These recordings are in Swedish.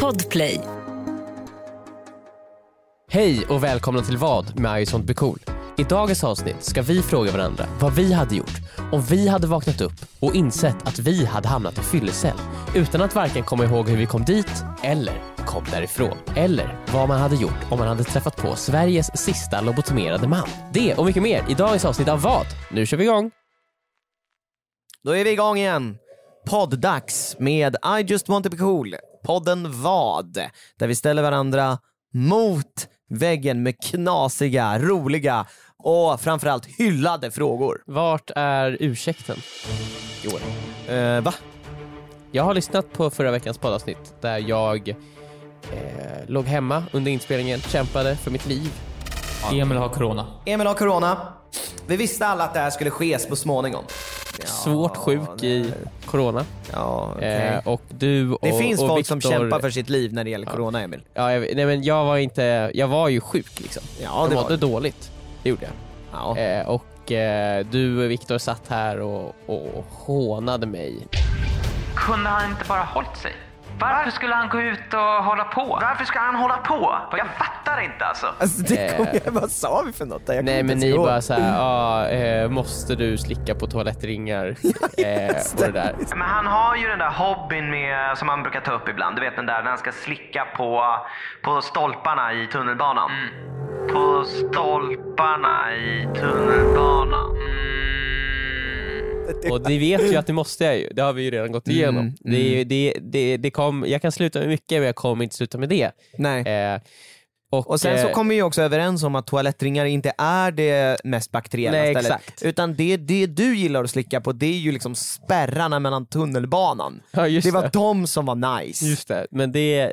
Podplay. Hej och välkomna till vad med I sånt blir cool. I dagens avsnitt ska vi fråga varandra vad vi hade gjort om vi hade vaknat upp och insett att vi hade hamnat i fyllecell utan att varken komma ihåg hur vi kom dit eller kom därifrån. Eller vad man hade gjort om man hade träffat på Sveriges sista lobotomerade man. Det och mycket mer i dagens avsnitt av vad? Nu kör vi igång! Då är vi igång igen. Podd-dags med I just want to be cool. Podden Vad? Där vi ställer varandra mot väggen med knasiga, roliga och framförallt hyllade frågor. Vart är ursäkten? I år? Eh, va? Jag har lyssnat på förra veckans poddavsnitt där jag eh, låg hemma under inspelningen, kämpade för mitt liv. Emil har corona. Emil har corona. Vi visste alla att det här skulle ske så småningom. Svårt sjuk i corona. Ja, okej. Eh, och du och det finns och folk Viktor, som kämpar för sitt liv när det gäller corona, Emil. Ja, jag, nej, men jag var inte, jag var ju sjuk liksom. Ja, Jag det var mådde det. dåligt. Det gjorde jag. Ja. Eh, och eh, du Viktor satt här och, och hånade mig. kunde han inte bara hållit sig? Varför skulle han gå ut och hålla på? Varför ska han hålla på? Jag fattar inte alltså. Alltså, det kom, vad sa vi för något? Jag kommer Eh. Nej inte men ens ni ihåg. bara såhär, ah, eh, måste du slicka på toalettringar? eh, och det där. Men han har ju den där hobbyn med, som han brukar ta upp ibland. Du vet den där när han ska slicka på, på stolparna i tunnelbanan. På stolparna i tunnelbanan. Mm. Och ni vet ju att det måste jag ju, det har vi ju redan gått igenom. Mm, Det, är ju- det, det, det kom, jag kan sluta med mycket men jag kommer inte sluta med det. Nej. Eh, och, Och sen så eh, kom vi ju också överens om att toalettringar inte är det mest bakteriella Nej, stället. exakt. Utan det, det du gillar att slicka på det är ju liksom spärrarna mellan tunnelbanan. ja, just det var det. de som var nice. Just det, men det...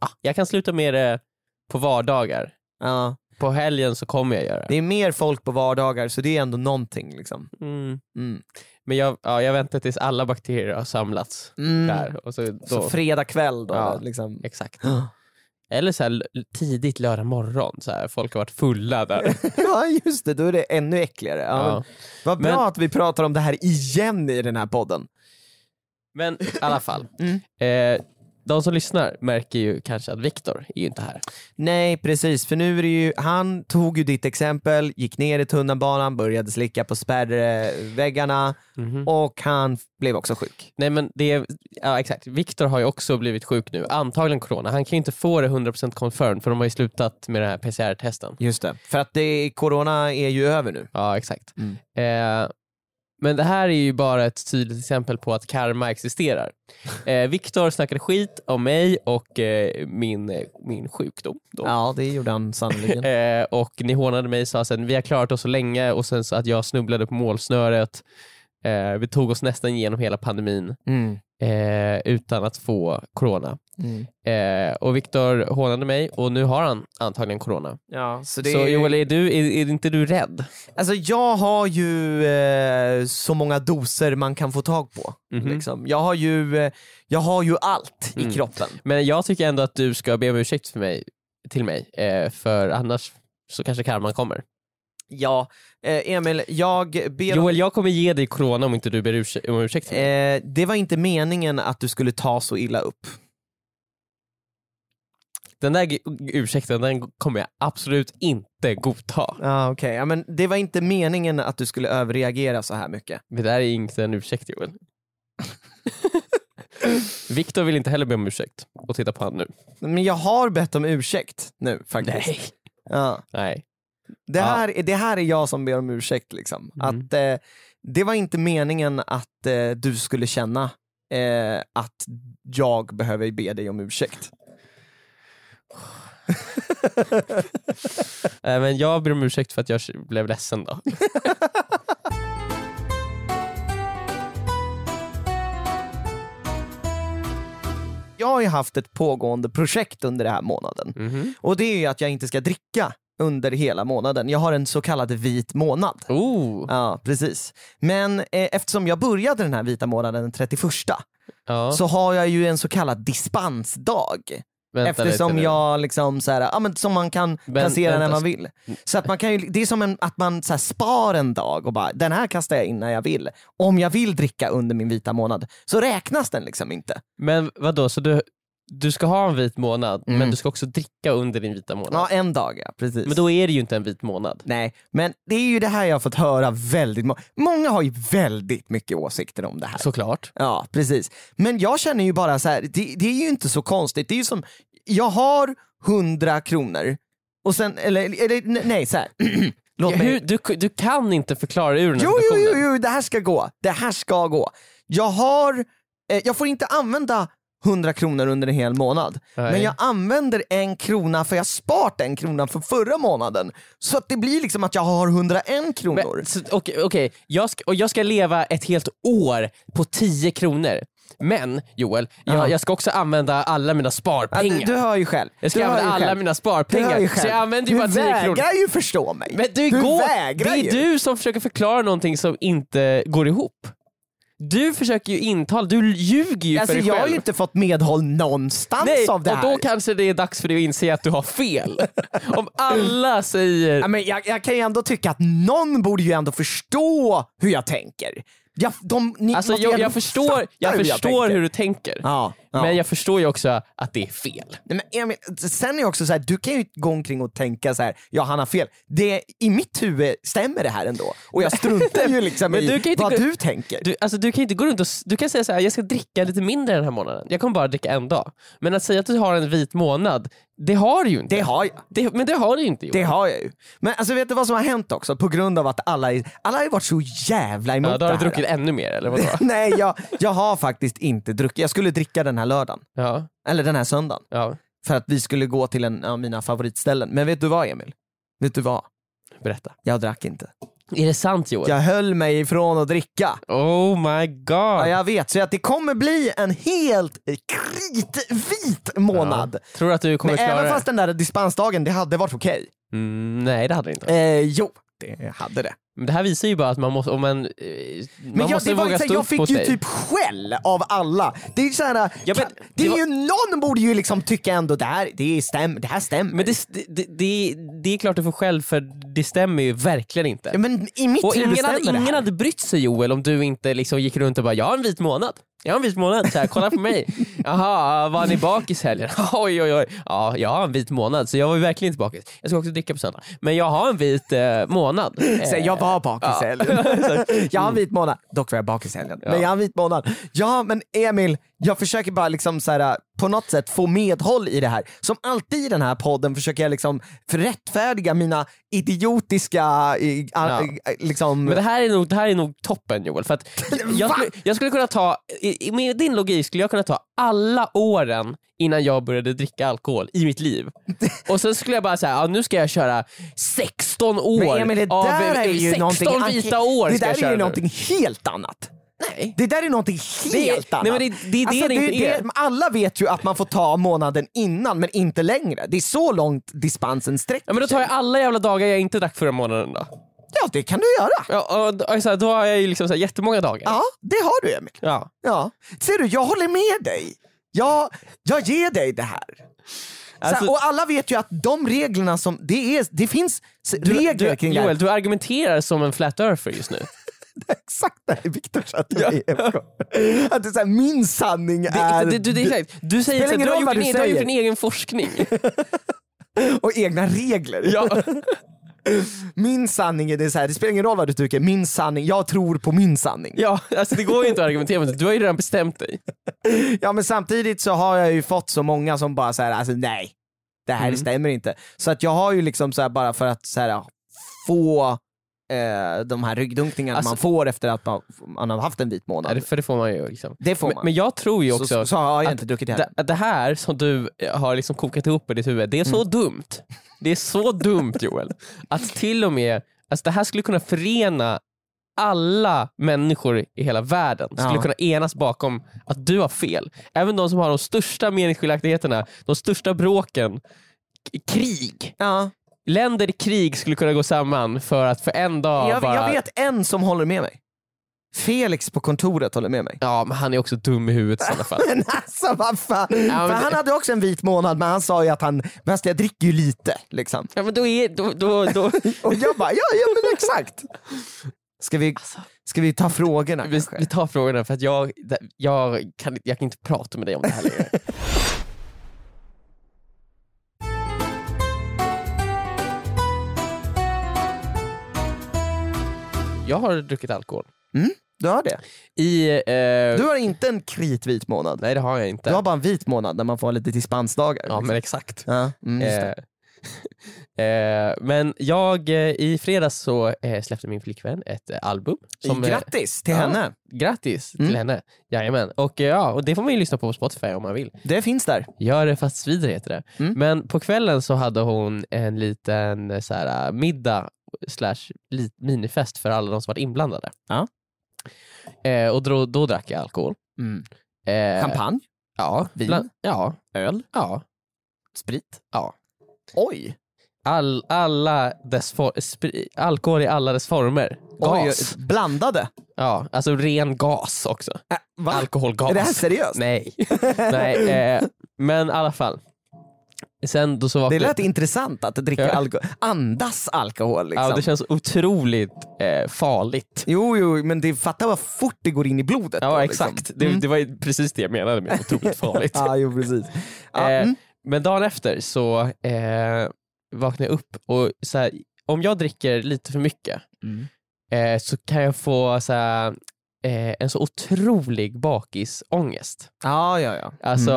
Ah, jag kan sluta med det på vardagar. Ja, På helgen så kommer jag göra det det. är mer folk på vardagar så det är ändå någonting. Liksom. Mm. Mm. Men jag, ja, jag väntar tills alla bakterier har samlats Mm. där. Och så, då, Så fredag kväll då. Ja. Liksom. exakt. Eller så här, l- tidigt lördag morgon, så här, folk har varit fulla där. ja just det, då är det ännu äckligare. Ja, Ja. men Vad bra Men- att vi pratar om det här igen i den här podden. Men i alla fall. Mm. Eh, de som lyssnar märker ju kanske att Viktor är ju inte här. Nej precis, för nu är det ju, han tog ju ditt exempel, gick ner i tunnelbanan, började slicka på spärrväggarna och han f- blev också sjuk. Nej men det är, ja exakt, Viktor har ju också blivit sjuk nu, antagligen corona. Han kan ju inte få det 100% confirmed för de har ju slutat med den här PCR-testen. Just det. För att det, corona är ju över nu. Ja, exakt. Mm. Eh, men det här är ju bara ett tydligt exempel på att karma existerar. Eh, Viktor snackade skit om mig och eh, min, eh, min sjukdom. Då. Ja det gjorde han sannoliken. Eh, och ni hånade mig och sa sen vi har klarat oss så länge och sen så att jag snubblade på målsnöret. Eh, vi tog oss nästan igenom hela pandemin Mm. eh, utan att få corona. Mm. Eh, och Viktor hånade mig och nu har han antagligen corona. Ja, så Så Joel, är, du, är, är inte du rädd? Alltså jag har ju eh, så många doser man kan få tag på. Liksom. Jag, har ju, eh, jag har ju allt i kroppen. Men jag tycker ändå att du ska be om ursäkt för mig, till mig, eh, för annars så kanske karman kommer. Ja, eh, Emil, jag ber om Joel, jag kommer ge dig corona om inte du ber ursäkt, om ursäkt för mig. Eh, det var inte meningen att du skulle ta så illa upp. Den där g- ursäkten den kommer jag absolut inte godta. Ah, okay. ja, men det var inte meningen att du skulle överreagera så här mycket. Det där är inte en ursäkt Joel. Viktor vill inte heller be om ursäkt och titta på han nu. Men jag har bett om ursäkt nu faktiskt. Nej. Ja. Nej. Det, här, är- det här är jag som ber om ursäkt. Liksom. Mm. Att, eh, det var inte meningen att eh, du skulle känna eh, att jag behöver be dig om ursäkt. Eh, Men jag ber om ursäkt för att jag blev ledsen då. Jag har ju haft ett pågående projekt under den här månaden Mhm. och det är ju att jag inte ska dricka under hela månaden. Jag har en så kallad vit månad. Oh. Ja, precis. Men eh, eftersom jag började den här vita månaden den 31 Ja, så har jag ju en så kallad dispensdag. vänta lite eftersom nu. jag liksom så här, ja, men som man kan Vän- placera när vänta. man vill. Så att man kan ju, det är som en, att man så här spar en dag och bara den här kastar jag in när jag vill. Om jag vill dricka under min vita månad så räknas den liksom inte. Men vadå, så du, du ska ha en vit månad, Mm. men du ska också dricka under din vita månad. Ja, en dag ja, precis. Men då är det ju inte en vit månad. Nej, men det är ju det här jag har fått höra väldigt många. Många har ju väldigt mycket åsikter om det här. Såklart. Ja, precis. Men jag känner ju bara så här, det, det är ju inte så konstigt. Det är ju som, jag har 100 kronor och sen, eller, eller ne- nej så här. Låt mig... Hur, du, du kan inte förklara ur den här Jo, jo, situationen. jo, jo, det här ska gå. Det här ska gå. Jag har, eh, jag får inte använda 100 kronor under en hel månad. Nej. Men jag använder en krona för jag har sparat en krona från förra månaden. Så att det blir liksom att jag har 101 Men- kronor. så- Okej, okej. jag, ska, och jag ska leva ett helt år på 10 kronor. Men Joel, jag, Ja. jag ska också använda alla mina Ja, sparpengar. du, du hör ju själv. jag ska du hör använda ju alla själv. mina Du hör sparpengar. ju Så själv. jag använder ju bara 10 Du kronor. vägrar ju förstå mig. Men du, du går, vägrar det ju. är du som försöker förklara någonting som inte går ihop. Du försöker ju intala, du ljuger ju Alltså, för dig jag har själv. ju inte fått medhåll någonstans Nej, av det och här. då kanske det är dags för dig att inse att du har fel. Om alla säger... Ja, men jag, jag kan ju ändå tycka att någon borde ju ändå förstå hur jag tänker. Jag, de, ni Alltså, måste ju jag, ändå jag förstår, fatta jag förstår tänker. hur du tänker. Ja, ja. Men jag förstår ju också att det är fel. Nej, men Emil, sen är jag också så här, du kan ju gå omkring och tänka så här, ja han har fel. Det, I mitt huvud stämmer det här ändå. Och jag struntar ju liksom Men i du kan ju inte vad gå- du tänker. Du, alltså, du kan inte gå runt och s- du kan säga så här, jag ska dricka lite mindre den här månaden. Jag kommer bara dricka en dag. Men att säga att du har en vit månad, det har du ju inte. Det har jag. Det- men det har du ju inte gjort. Det har jag ju. Men alltså vet du vad som har hänt också? På grund av att alla, är, alla har ju varit så jävla emot ja, då har det du här. druckit ännu mer eller vadå? Nej, jag, jag har faktiskt inte druckit. Jag skulle dricka den här lördagen, ja, eller den här söndagen, ja, för att vi skulle gå till en av mina favoritställen. Men vet du vad Emil? Vet du vad? berätta. Jag drack inte. Är det sant Joel? Jag höll mig ifrån att dricka. Oh my god. Ja, jag vet, så att det kommer bli en helt kritvit månad. Tror du att du kommer Men klara även det? fast den där dispensdagen, det hade varit okej. Mm, nej det hade du inte. Eh, jo, det hade det. Men det här visar ju bara att man måste, om man, eh, man Men jag, måste det var, ju våga såhär, stå jag upp mot fick ju dig. typ skäll av alla. Det är ju såhär, Ja, men kan, det det är var- ju, någon borde ju liksom tycka ändå det här, det, stäm, det här stämmer. Men det, det, det, det, det är klart du får skäll för det stämmer ju verkligen inte. Ja, men i mitt Och huvud ingen hade, stämmer det ingen här. hade brytt sig Joel om du inte liksom gick runt och bara “jag har en vit månad, jag har en vit månad, så här, kolla på mig”. “Jaha, var ni bakis helgen?” “Oj oj oj, ja jag har en vit månad så jag var ju verkligen inte bakis. Jag ska också dricka på söndag. Men jag har en vit eh, månad.” Eh, Så här, jag var bakis i helgen. jag har en vit månad. Dock var jag bakis i helgen. Men jag har en vit månad. Ja men Emil, jag försöker bara liksom så här, på något sätt få medhåll i det här. Som alltid i den här podden försöker jag liksom rättfärdiga mina idiotiska eh, Ja. ah, eh, liksom, Men det här är nog, det här är nog toppen Joel. För att jag, Va? skulle, jag skulle kunna ta, i- i- med din logik skulle jag kunna ta alla åren innan jag började dricka alkohol i mitt liv. Och sen skulle jag bara säga, ja, nu ska jag köra 16 år Men Emil, det av där är ju 16 någonting, vita år Det ska där jag är köra ju nu. någonting helt annat. Nej. Det där är någonting Det är- helt annat. Alltså, nej, men det- det är det det inte är. Alla vet ju att man får ta månaden innan men inte längre. Det är så långt dispensen Ja, sträcker men då tar sig. jag alla jävla dagar jag inte drack förra månaden då. Ja det kan du göra. Ja, och, och, så här, då har jag ju liksom så här, jättemånga dagar. Ja det har du Emil. Ja. Ja. Ser du, jag håller med dig. Jag, jag ger dig det här. Alltså- så, och alla vet ju att de reglerna som, det, är, det finns s- regler Du, kring det Joel, här. du argumenterar som en flat earther just nu. Exakt det här är Viktor Chatterjee. Att det är så här, min sanning är... det, det, det, det, du säger Äh, så Spelar här, ingen du, har roll gjort vad din, du e- du har gjort säger. din egen forskning. och egna regler. Ja. Min sanning är det så här, det spelar ingen roll vad du tycker, min sanning, jag tror på min sanning. Ja, alltså det går ju inte att argumentera mot det. Du har ju redan bestämt dig. Ja men samtidigt så har jag ju fått så många som bara så här, alltså nej, det Mm. här stämmer inte. Så att jag har ju liksom så här bara för att så här, få eh, de här ryggdunkningarna Alltså- man får efter att man, man har haft en vit månad. Ja, det- för det får man ju. Liksom. Det får men, man. men jag tror ju så, också så, så har jag att inte druckit det här. det, att det här som du har liksom kokat ihop i ditt huvud, det är Mm. så dumt. Det är så dumt Joel. Att till och med, alltså det här skulle kunna förena alla människor i hela världen skulle Ja. kunna enas bakom att du har fel. Även de som har de största meningsskiljaktigheterna, de största bråken, k- krig. Ja, Länder i krig skulle kunna gå samman för att för en dag jag, bara... jag vet en som håller med mig. Felix på kontoret håller med mig. Ja, men han är också dum i huvudet i sådana fall. Men alltså vad fan. men För det- han hade också en vit månad men han sa ju att han, fast jag dricker ju lite liksom. Ja, men då är, då, då, då, Och jag bara, ja, ja men exakt. Ska vi, ska vi ta frågorna Alltså. vi, kanske? vi tar frågorna för att jag, jag, kan, jag kan inte prata med dig om det här längre. Jag har druckit alkohol. Du har det. I... Eh, Du har inte en kritvit månad. Nej det har jag inte. Du har bara en vit månad när man får ha lite dispensdagar. liksom. Ja men exakt. ja, mm, just det. Eh, eh, men jag, eh, i fredags så eh, släppte min flickvän ett eh, album. Som, eh, Grattis till ja. henne. grattis Mm. till henne. Jajamän. Och, eh, ja, och det får man ju lyssna på på Spotify om man vill. Det finns där. Gör det fast svider heter det. Mm. Men på kvällen så hade hon en liten eh, så här, eh, middag slash li- minifest för alla de som var inblandade. Ja. Eh, och då, då drack jag alkohol. Eh, Champagne, Ja, Vin? bland- ja, öl, ja. sprit. Ja. Oj! All, alla dess for, spri, alkohol i alla dess former. Gas. Oj, blandade. Ja, alltså ren gas också. va? Alkoholgas. Är det här seriöst? Nej. Nej eh, men i alla fall. Sen då så Det vaknade lät intressant att dricka Ja. alkohol. Andas alkohol liksom. ja, Det känns otroligt eh, farligt. Jo, jo, men det, fatta vad fort det går in i blodet. då, Ja liksom. exakt, det, det var ju precis det jag menade med otroligt farligt. Ja, jo precis. Ja, Eh, mm. Men dagen efter så eh, vaknar jag upp och så här, om jag dricker lite för mycket Mm. eh, så kan jag få så här, eh, en så otrolig bakisångest. ja, ja, ja. Alltså,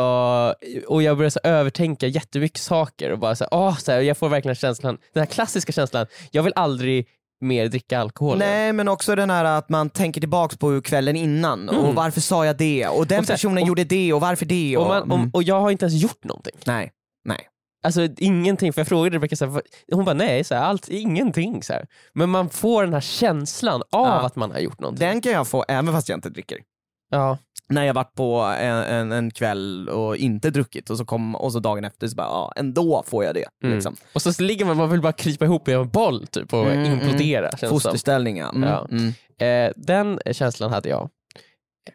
Mm. Och jag börjar så här övertänka jättemycket saker och bara så här, "Åh", så här, jag får verkligen känslan, den här klassiska känslan, jag vill aldrig mer dricka alkohol. Nej men också den här att man tänker tillbaks på kvällen innan och varför sa jag det och den Mm. Och så här, personen och- gjorde det och varför det. Och, Och, man, mm. och, och jag har inte ens gjort någonting. nej, nej. Alltså ingenting, för jag frågade Rebecka, så här, "Vad-" hon bara nej, så här, allt, ingenting. Så här. Men man får den här känslan av Ja. att man har gjort någonting. Den kan jag få även fast jag inte dricker. Ja. När jag varit på en, en, en kväll och inte druckit och så, kom, och så dagen efter så bara, ja ändå får jag det. Mm. Liksom. Och så ligger man, man vill bara krypa ihop i en boll typ, och Mm, mm. implodera. känns det som. Fosterställning ja. Mm, Ja. Mm. Eh, den känslan hade jag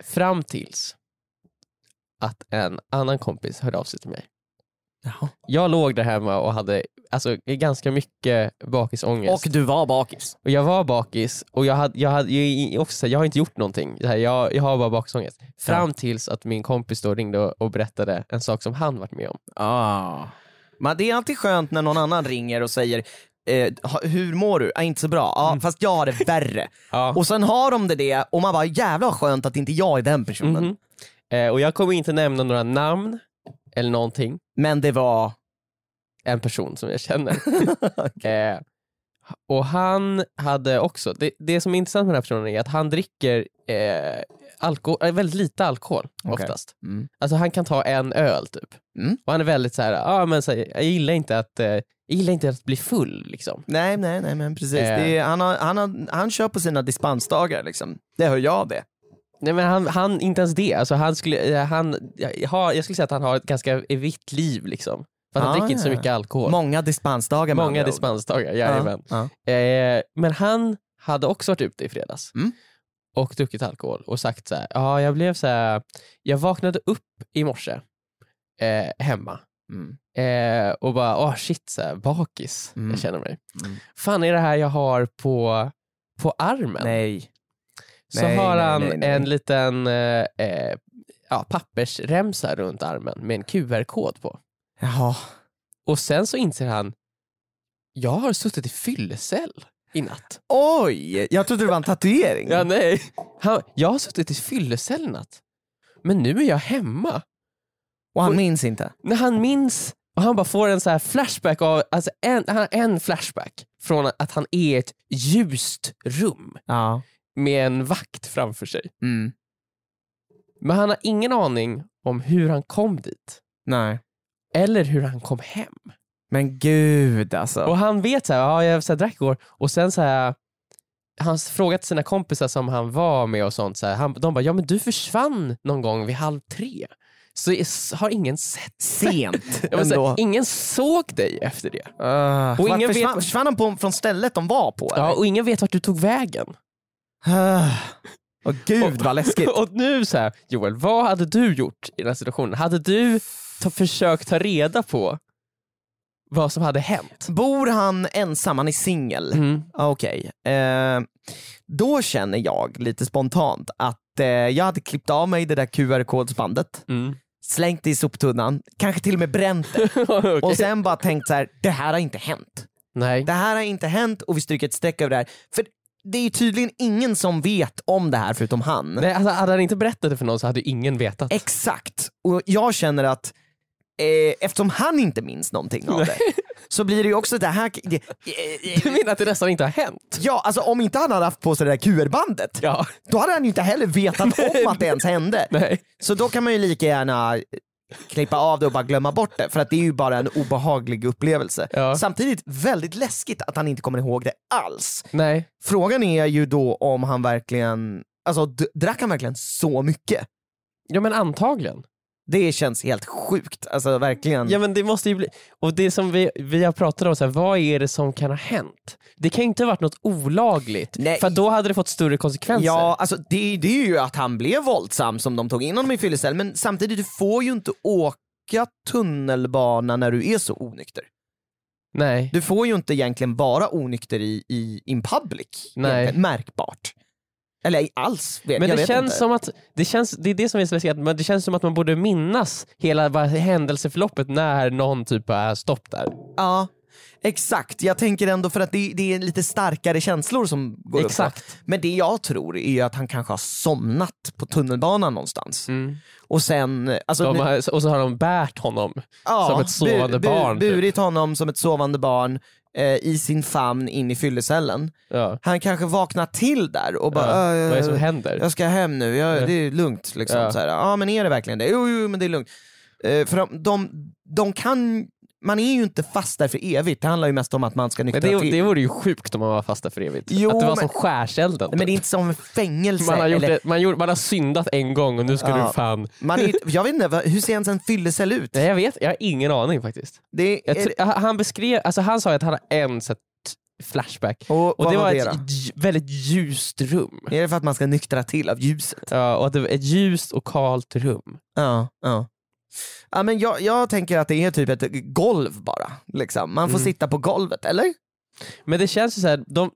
fram tills att en annan kompis hörde av sig till mig. Jag låg där hemma och hade alltså, ganska mycket bakisångest. Och du var bakis. Och jag var bakis och jag, hade, jag, hade, jag, är också, så här, jag har inte gjort någonting. Det här, Jag, jag har bara bakisångest. Fram tills att min kompis då ringde och, och berättade en sak som han varit med om. Ah. Men det är alltid skönt när någon annan ringer och säger Eh, ha- hur mår du? Ah, inte så bra. Ja, Fast jag har det värre. Mm. Ja. Och sen har de det, det och man bara jävlar vad skönt att inte jag är den personen. Mhm. Eh, och jag kommer inte nämna några namn eller någonting. Men det var... En person som jag känner. eh, och han hade också, det, det som är intressant med den här personen är att han dricker eh, alkohol, eh, väldigt lite alkohol Okej. oftast. Mm. Alltså han kan ta en öl typ. Mm. Och han är väldigt så här, ah, men så här jag, gillar inte att, eh, jag gillar inte att bli full liksom. Nej, nej, nej men precis. Eh. Det är, han, har, han, har, han kör på sina dispensdagar liksom. Det hör jag det. Nej men han, han inte ens det. Alltså, han skulle, eh, han, jag, har, jag skulle säga att han har ett ganska vitt liv liksom. För att han Ah, dricker inte så ja. mycket alkohol. Många dispensdagar med Många andra ord. dispensdagar, Ja, jajamän. ja. Eh, men han hade också varit ute i fredags Mm. och druckit alkohol och sagt så här, ja jag blev så här, jag vaknade upp i morse eh, hemma Mm. eh, och bara, åh shit, så här, bakis Mm. jag känner mig. Mm. Fan är det här jag har på, på armen? Nej. Så nej, har nej, han nej, nej. en liten eh, eh, ja, pappersremsa runt armen med en QR-kod på. Jaha. Och sen så inser han, jag har suttit i fyllecell i natt. Oj! Jag trodde det var en tatuering. Ja, nej. Han, jag har suttit i fyllecell i natt. Men nu är jag hemma. Och han minns inte. När han minns och han bara får en så här flashback av, alltså en, han har en flashback från att han är i ett ljust rum Ja. med en vakt framför sig. Mm. Men han har ingen aning om hur han kom dit. Nej. Eller hur han kom hem. Men gud alltså. Och han vet så här, ja, jag så här, drack igår och sen så här han frågat sina kompisar som han var med och sånt, så här, han, de bara ja men du försvann någon gång vid halv tre. Så är- har ingen sett Sent jag menar, så ändå. här, Ingen såg dig efter det. Uh, och ingen vet- försvann, försvann han på, från stället de var på? Ja, och ingen vet vart du tog vägen. och gud vad läskigt. Och nu så här, Joel, vad hade du gjort i den här situationen? Hade du ta, försökt ta reda på vad som hade hänt? Bor han ensam? Han är singel. Mm. Ah, Okej. Eh, då känner jag lite spontant att eh, jag hade klippt av mig det där QR-kodsbandet, Mm. slängt det i soptunnan, kanske till och med bränt det Okej. och sen bara tänkt så här: det här har inte hänt. Nej. Det här har inte hänt och vi stryker ett streck över det här. För det är ju tydligen ingen som vet om det här förutom han. Nej, alltså, hade han inte berättat det för någon så hade ju ingen vetat. Exakt, och jag känner att eh, eftersom han inte minns någonting av det så blir det ju också det här... Det, eh, Du eh, menar att det nästan inte har hänt? ja, alltså om inte han hade haft på sig det där QR-bandet Ja. då hade han ju inte heller vetat om att det ens hände. Nej. Så då kan man ju lika gärna klippa av det och bara glömma bort det för att det är ju bara en obehaglig upplevelse. Ja. Samtidigt väldigt läskigt att han inte kommer ihåg det alls. Nej. Frågan är ju då om han verkligen, alltså d- drack han verkligen så mycket? Ja men Mm. antagligen. Det känns helt sjukt, alltså verkligen. Ja men det måste ju bli, och det som vi, vi har pratat om, så här, vad är det som kan ha hänt? Det kan ju inte ha varit något olagligt, Nej. för då hade det fått större konsekvenser. Ja, alltså det, det är ju att han blev våldsam som de tog in honom i fyllecell, men samtidigt, du får ju inte åka tunnelbana när du är så onykter. Nej. Du får ju inte egentligen vara onykter i, i in public, Nej. egentligen, märkbart. Eller i- alls, vet, Men jag det vet känns inte. som att, det, känns, det är det som är så läskigt, men det känns som att man borde minnas hela vad- händelseförloppet när någon typ är stopp där. Ja, exakt. Jag tänker ändå för att det, det är lite starkare känslor som går Exakt. uppåt. Men det jag tror är ju att han kanske har somnat på tunnelbanan någonstans. Mm. Och sen... Alltså, De nu- har, och så har de bärt honom Ja, som ett sovande bu- bu- barn. typ. Burit honom som ett sovande barn eh, i sin famn in i fyllecellen. Ja. Han kanske vaknar till där och bara Ja. "Äh, Vad är det som händer? jag ska hem nu, jag, det är lugnt. Liksom, Ja. så här. Ja men är det verkligen det? Jo, jo men det är lugnt. Eh, för de, de, de kan, man är ju inte fast där för evigt, det handlar ju mest om att man ska nyktra Men det, till. det vore ju sjukt om man var fasta för evigt. Jo, att det var som men- skärselden. typ. Men det är inte som en fängelse. man, har gjort eller, det, man, gjorde, man har syndat en gång och nu ska Ja. du fan... man är, jag vet inte, vad- hur ser ens en fyllecell ut? Nej, jag vet, jag har ingen aning faktiskt. Det Jag, är, tr- han, beskrev, alltså, han sa ju att han har en så här, t- flashback. och, Och vad det var det ett då? j- väldigt ljust rum. Är det för att man ska nyktra till av ljuset? Ja, och att det var ett ljust och kalt rum. Ja, ja. ja men jag, jag tänker att det är typ ett golv bara. Liksom. Man får Mm. sitta på golvet, eller? Men det känns ju så här, de,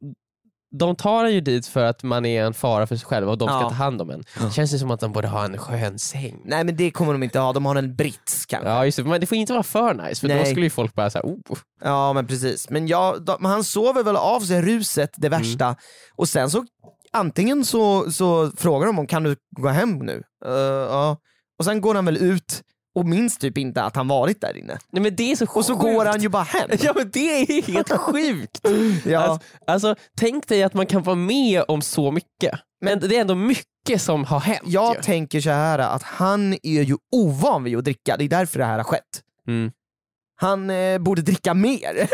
de tar en ju dit för att man är en fara för sig själv och de ska Ja. ta hand om en. Det känns ju som att de borde ha en skön säng. Nej men det kommer de inte ha, de har en brits kanske. Ja, Ja, just det. Men det får inte vara för nice för då Nej. skulle ju folk bara säga oh. men precis. Men ja, de, han sover väl av sig ruset, det Mm. värsta. Och sen så antingen så, så frågar de om kan du gå hem nu? Eh, Ja. Och sen går han väl ut och minns typ inte att han varit där inne. Nej men det är så Och så sjukt. går han ju bara hem. Ja men det är helt sjukt! Ja. Alltså, alltså, tänk dig att man kan vara med om så mycket. Men det är ändå mycket som har hänt Jag ju. tänker så här att han är ju ovan vid att dricka, det är därför det här har skett. Mm. Han eh, borde dricka mer.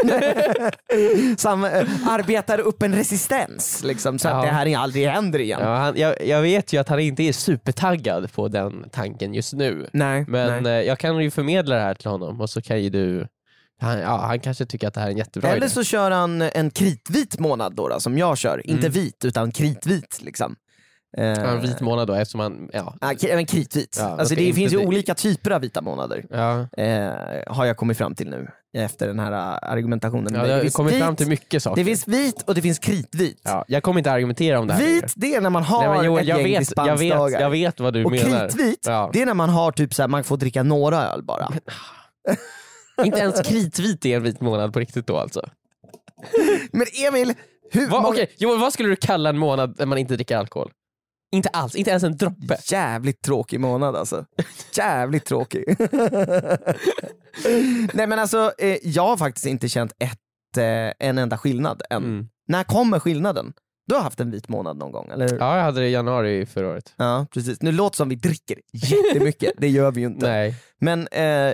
så han eh, arbetar upp en resistens liksom, så att Ja. det här aldrig händer igen. Ja, han, jag, jag vet ju att han inte är supertaggad på den tanken just nu. Nej, Men nej. eh, jag kan ju förmedla det här till honom och så kan ju du... Han, ja, han kanske tycker att det här är en jättebra Eller idé. Mm. så kör han en kritvit månad då, då som jag kör. Inte vit utan kritvit. Liksom. Eh, Ja, En vit månad då eftersom han... Ja. ja, kri- men kritvit. Ja, alltså, okej, det inte finns ju det. olika typer av vita månader. Ja. Eh, har jag kommit fram till nu efter den här eh, argumentationen. Ja, Det jag finns kommer vit, fram till mycket saker. Det finns vit och det finns kritvit. ja, jag kommer inte argumentera om det här längre. Vit, det är när man har Nej, men Joel, ett jag, gäng vet, jag, vet, dispensdagar. jag vet vad du och menar. kritvit, Ja. det är när man har typ så här, man får dricka några öl bara. Inte ens kritvit är en vit månad på riktigt då alltså. Men Emil, hur Va, många... okej, Joel, vad skulle du kalla en månad där man inte dricker alkohol? Inte alls, inte ens en droppe. Jävligt tråkig månad alltså. Jävligt tråkig. Nej men alltså, eh, jag har faktiskt inte känt ett, eh, en enda skillnad än. Mm. När kommer skillnaden? Du har haft en vit månad någon gång, eller hur? Ja, jag hade det i januari förra året. Ja, precis. Nu låter det som vi dricker jättemycket, det gör vi ju inte. Nej. Men eh,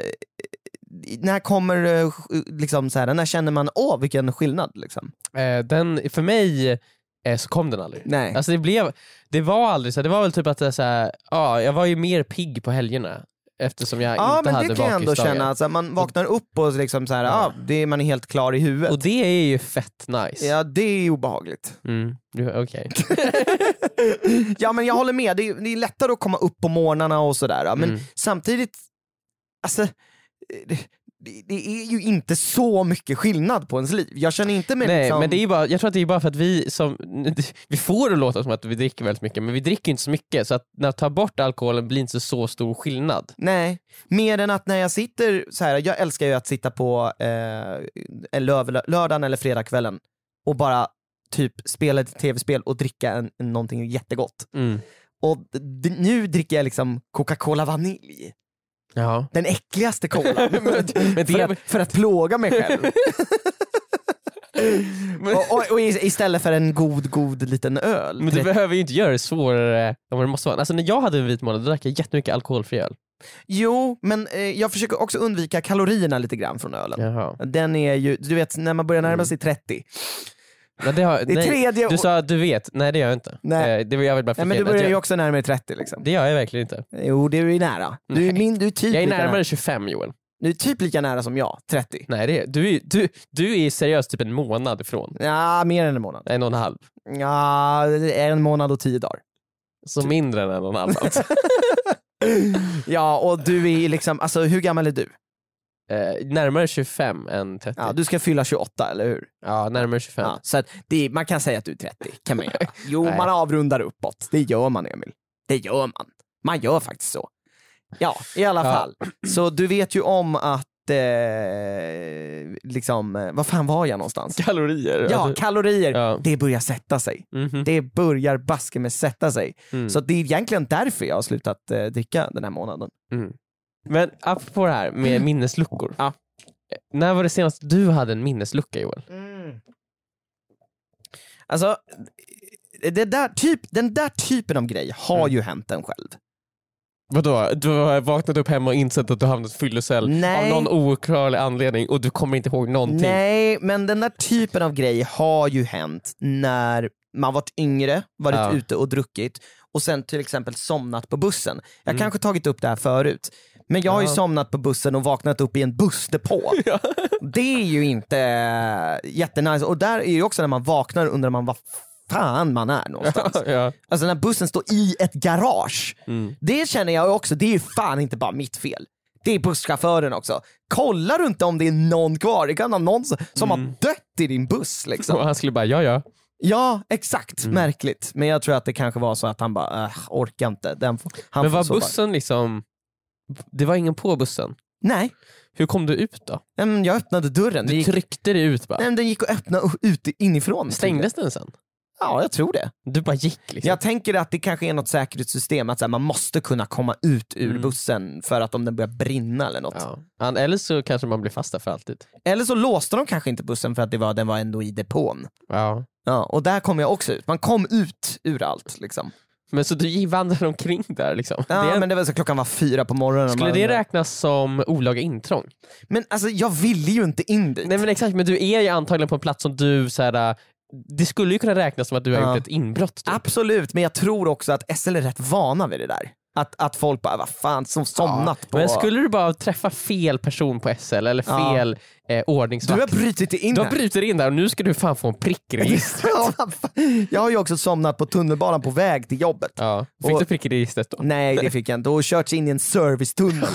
när kommer eh, liksom så här, när känner man åh vilken skillnad? Liksom? Eh, den, för mig eh, så kom den aldrig. Nej. Alltså det, blev, det var aldrig så, det var väl typ att jag, så här, ja, jag var ju mer pigg på helgerna eftersom jag Ja inte men hade det kan jag ändå bakisdagar. känna, alltså, man vaknar upp och liksom så här, Ja. ja. det är, man är helt klar i huvudet. Och det är ju fett nice. Ja det är obehagligt. Mm, ju- okej. ja men jag håller med, det är, det är lättare att komma upp på morgnarna och sådär. ja, Men Mm. samtidigt, alltså det, det- det är ju inte så mycket skillnad på ens liv. Jag känner inte mig Nej, liksom... men det är ju bara, jag tror att det är bara för att vi som, vi får det låta som att vi dricker väldigt mycket, men vi dricker ju inte så mycket, så att när jag tar bort alkoholen blir det inte så stor skillnad. Nej, mer än att när jag sitter så här, jag älskar ju att sitta på eh, en löv, lördagen eller fredagskvällen och bara typ spela ett tv-spel och dricka en, en, någonting jättegott. Mm. Och d- d- nu dricker jag liksom Coca-Cola vanilj. Ja. Den äckligaste kolan. men för, det- att, för att plåga mig själv. och och, och i- istället för en god, god liten öl. Men du behöver ju inte göra det svårare än vad det måste vara. Alltså när jag hade en vit månad då drack jag jättemycket alkoholfri öl. Jo, men eh, jag försöker också undvika kalorierna lite grann från ölen. Jaha. Den är ju, du vet när man börjar närma sig 30. Ja, det har, Det är Mm. nej, tredje du år- sa att du vet, nej det gör jag inte. Nej. Eh, Det var jag vill bara Nej, men du flika in att börjar ju jag, också närma dig 30 liksom. Det gör jag verkligen inte. Jo, det är ju nära. Du är, min, du är, typ, Jag är lika nära. närmare 25 Joel. Du är typ lika nära som jag, 30. Nej, det är, du, är- du, du är seriöst typ en månad ifrån. Ja, mer än en månad. En och en halv. Ja, en månad och tio dagar. Så mindre än en och en halv alltså. Ja, och du är liksom, alltså hur gammal är du? eh, Närmare 25 än 30. Ja, du ska fylla 28, eller hur? Ja, närmare 25. Ja, så att det, är- man kan säga att du är 30, kan man göra. Jo, Nej. man avrundar uppåt. Det gör man, Emil. Det gör man. Man gör faktiskt så. Ja, i alla Ja. fall. Så du vet ju om att, eh, liksom, eh, vad fan var jag någonstans? Kalorier. Ja, Alltså, kalorier. Ja. Det börjar sätta sig. mhm. Det börjar baske med sätta sig. Mm. Så det är egentligen därför jag har slutat eh, dricka den här månaden. Mm. Men apropå det här med minnesluckor. Mm. Ja. Eh, När var det senast du hade en minneslucka Joel? Alltså, det där typ, den där typen av grej har Mm. ju hänt en själv. Typ. Vadå? Du har vaknat upp hemma och insett att du hamnat i fyllecell Nej. av någon ouklarlig anledning och du kommer inte ihåg någonting. Nej, men den där typen av grej har ju hänt när man varit yngre, varit Ja. ute och druckit och sen till exempel somnat på bussen. Jag Mm. kanske tagit upp det här förut, men jag har ju Ja. somnat på bussen och vaknat upp i en bussdepå. Det är ju inte eh, jättenice. Och där är ju också när man vaknar och undrar man vad fan man är någonstans. ja. Alltså när bussen står i ett garage. Det känner jag också, det är ju fan inte bara mitt fel. Det är busschauffören också. Kollar du inte om det är någon kvar? Det kan vara någon som som Mm. har dött i din buss. Liksom. Och han skulle bara, ja ja. Ja, exakt. Mm. Märkligt. Men jag tror att det kanske var så att han bara, äh, orkar inte. Den får, han Men får var sova." bussen liksom, det var ingen på bussen. Nej, Hur kom du ut då? Nej, men jag öppnade dörren. Det Du gick, tryckte dig ut bara. Nej, men den gick att öppna u- ut inifrån. Stängdes den sen? Ja, jag tror det. Du bara gick liksom. Jag tänker att det kanske är något säkerhetssystem, att så här, man måste kunna komma ut ur Mm. bussen för att om den börjar brinna eller något. Ja. An- Eller så kanske man blir fast där för alltid. Eller så låste de kanske inte bussen för att det var, den var ändå i depån. Ja. Ja, och där kom jag också ut. Man kom ut ur allt. Liksom. Men så du gick- vandrade omkring där liksom. Ja, det, men det var så, klockan var fyra på morgonen. skulle Man- det räknas som olaga intrång? Men alltså, jag ville ju inte in dit. Nej men exakt, men du är ju antagligen på en plats som du, så här, äh, det skulle ju kunna räknas som att du har Ja. gjort ett inbrott. Typ. Absolut, men jag tror också att SL är rätt vana vid det där. Att, att folk bara, vad fan, som somnat på... Men skulle du bara träffa fel person på SL eller Ja. fel eh, Du ordningsvakt? har brutit dig in Du här. har brutit in där och nu ska du fan få en prick i registret. Ja, vad fan. jag har ju också somnat på tunnelbanan på väg till jobbet. Ja. Fick Och- du prick i registret då? Nej det fick jag inte, och körts in i en servicetunnel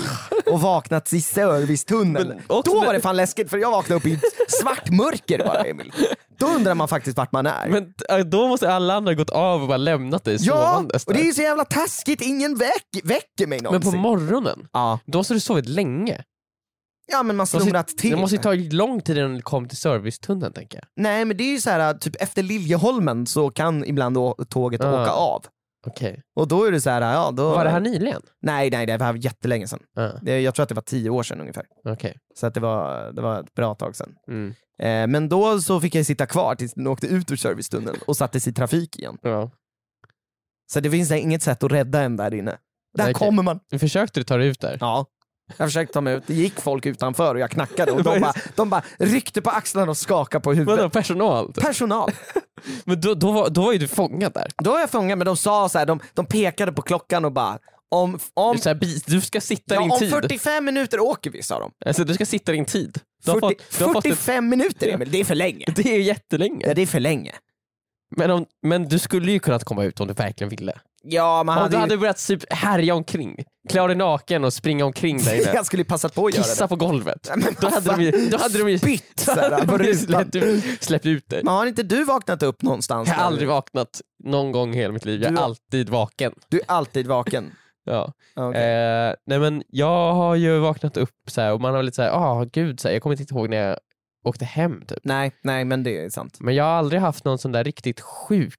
och vaknat i servicetunneln. Men också Då när- var det fan läskigt för jag vaknade upp i svart mörker bara Emil. Då undrar man faktiskt vart man är. Men äh, då måste alla andra gått av och bara lämnat dig ja, sovandes och det är där. ju så jävla taskigt, ingen väck, väcker mig Men på någonsin. morgonen, ja. då måste du sovit länge. ja men man Det måste- slumrat till. Det måste ju ta lång tid innan du kom till servicetunneln tänker jag. Nej men det är ju så här, typ efter Liljeholmen så kan ibland å- tåget Ja. åka av. Okej. Och då är det så här, ja då... Var det här nyligen? Nej nej, det var jättelänge sedan. Ja, Det, jag tror att det var tio år sedan ungefär. Okej. Så att det, var, det var ett bra tag sedan. Mm. Eh, men då så fick jag sitta kvar tills den åkte ut ur servicetunneln och sattes i trafik igen. Ja. Så det finns där inget sätt att rädda en där inne. Där Nej, okej. kommer man. Men Försökte du ta dig ut där? typ. Ja. Jag försökte ta mig ut, det gick folk utanför och jag knackade och de bara, de bara ryckte på axlarna och skakade på huvudet. Vadå personal? Personal. Men då, då, var, då var ju du fångad där. Då var jag fångad men de sa så här, de, de pekade på klockan och bara om, om, Så här, bi- du ska sitta ja, din om tid. 45 minuter åker vi sa de. Alltså, du ska sitta din tid. Du har 40, fått, du har fått ett, 45 minuter Emil, det är för länge. det är ju Ja, jättelänge. det är för länge. Men, om, men du skulle ju kunnat komma ut om du verkligen ville. Ja, man Om hade du ju, hade börjat typ härja omkring, klä av dig naken och springa omkring där inne. jag skulle ju passat på att göra det. Kissa på golvet. Då vad hade de ju... Då hade de ju Spytt då så här, hade på de ju rutan. släppt ut- släppt ut dig. Men har inte du vaknat upp någonstans? Jag har där? aldrig vaknat någon gång i hela mitt liv. Jag är Du har- alltid vaken. Du är alltid vaken. Ja. Okej. Eh, nej men jag har ju vaknat upp så här, och man har lite såhär, ah gud, så här, jag kommer inte ihåg när jag åkte hem typ. Nej, nej men det är sant. Men jag har aldrig haft någon sån där riktigt sjuk.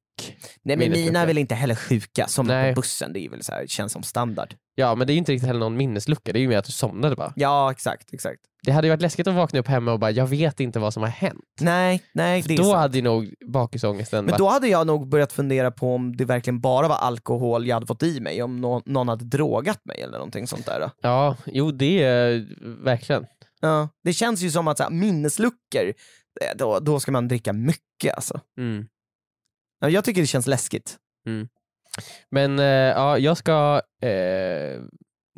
Nej men Minnet mina lucka. är väl inte heller sjuka som Nej. på bussen, det är väl så här, känns som standard. Ja men det är ju inte riktigt heller någon minneslucka, det är ju mer att du somnade bara. Ja exakt, exakt. Det hade ju varit läskigt att vakna upp hemma och bara jag vet inte vad som har hänt. Nej, nej det är Då sant. hade ju nog bakisångesten Men varit då hade jag nog börjat fundera på om det verkligen bara var alkohol jag hade fått i mig, om nå- någon hade drogat mig eller någonting sånt där. då. Ja, jo det är verkligen. Ja. Det känns ju som att så här, minnesluckor, eh, då, då ska man dricka mycket alltså. Mm. Ja, Jag tycker det känns läskigt. Men eh, ja, jag ska eh,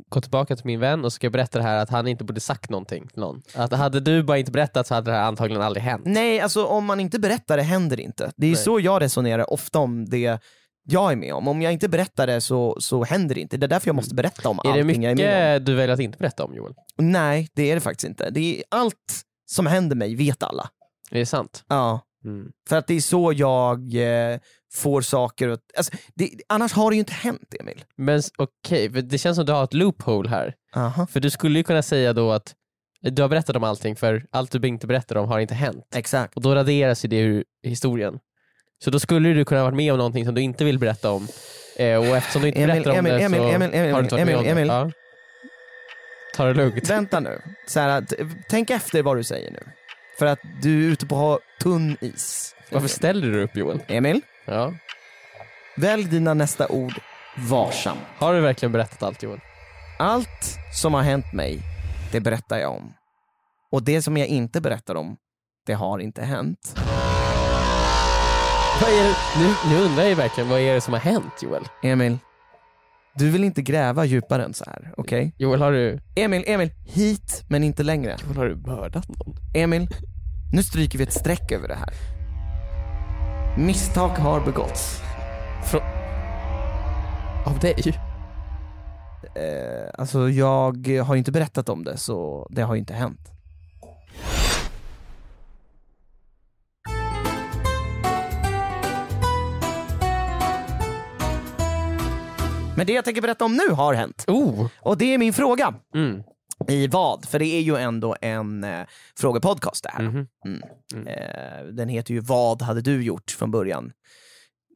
gå tillbaka till min vän och ska berätta det här att han inte borde sagt någonting till någon. Att hade du bara inte berättat så hade det här antagligen aldrig hänt. Nej, alltså om man inte berättar det händer det inte. Det är ju Nej. så jag resonerar ofta om det jag är med om. Om jag inte berättar det så, så händer det inte. Det är därför jag måste berätta om Mm. är det allting jag är med om. mycket du väljer att inte berätta om Joel? Nej, det är det faktiskt inte. Det är allt som händer mig vet alla. Är det sant? Ja. Mm. För att det är så jag eh, får saker att... Alltså, det, annars har det ju inte hänt, Emil. Men s- okej, för det känns som du har ett loophole här. Aha. För du skulle ju kunna säga då att du har berättat om allting för allt du inte berättar om har inte hänt. Exakt. Och då raderas ju det ur historien. Så då skulle ju du kunna ha varit med om någonting som du inte vill berätta om. Eh, och eftersom du inte Emil, berättar om Emil, det så Emil, Emil, Emil, har du inte varit Emil, med om det. Emil. Ja. Ta det lugnt. Vänta nu. Så här, att- tänk efter vad du säger nu. För att du är ute på ha- tunn is. Varför ställer du upp Joel? Emil, Ja. välj dina nästa ord varsamt. Har du verkligen berättat allt Joel? Allt som har hänt mig, det berättar jag om. Och det som jag inte berättar om, det har inte hänt. Vad är det? Nu, nu undrar jag ju verkligen, vad är det som har hänt Joel? Emil, du vill inte gräva djupare än så här, okej? Joel, har du, Emil, Emil, hit men inte längre. Joel, har du mördat någon? Emil, nu stryker vi ett streck över det här. Misstag har begåtts. Av dig? Eh, alltså jag har ju inte berättat om det, så det har ju inte hänt. Men det jag tänker berätta om nu har hänt. Oh! Och det är min fråga. Mm. I vad? För det är ju ändå en eh, frågepodcast det här. Mm. Mhm. Eh, den heter ju Vad hade du gjort från början?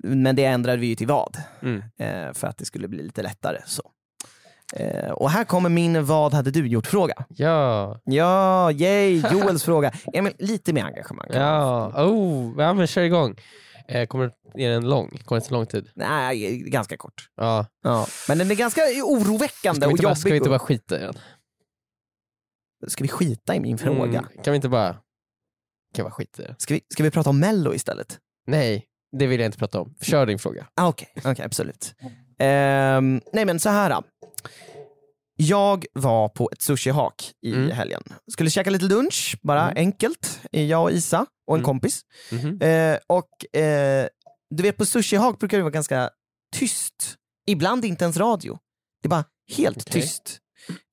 Men det ändrade vi ju till vad, Mm. eh, för att det skulle bli lite lättare. Så. Eh, och här kommer min Vad hade du gjort-fråga. Ja, Ja, yay! Joels fråga. Ja, men lite mer engagemang. ja, oh, ja men kör igång. Eh, kommer, är den lång? Kommer det ta lång tid? Nej, ganska kort. Ja. Ja. Men den är ganska oroväckande Ska vi, och inte bara, ska vi inte jobbig. Ska, bara skita i den? ska vi skita i min fråga? Mm, kan vi inte bara... Kan vara skit i det. Ska, vi, ska vi prata om Mello istället? Nej, det vill jag inte prata om. Kör din fråga. Ah, Okej, Mm. okej, absolut. Ehm, nej men så här. då. Jag var på ett sushihak i Mm. helgen. Skulle käka lite lunch, bara Mm. enkelt. Jag och Isa och en Mm. kompis. Mhm. Eh, och eh, du vet på sushihak brukar det vara ganska tyst. Ibland inte ens radio. Det är bara helt Okej. tyst.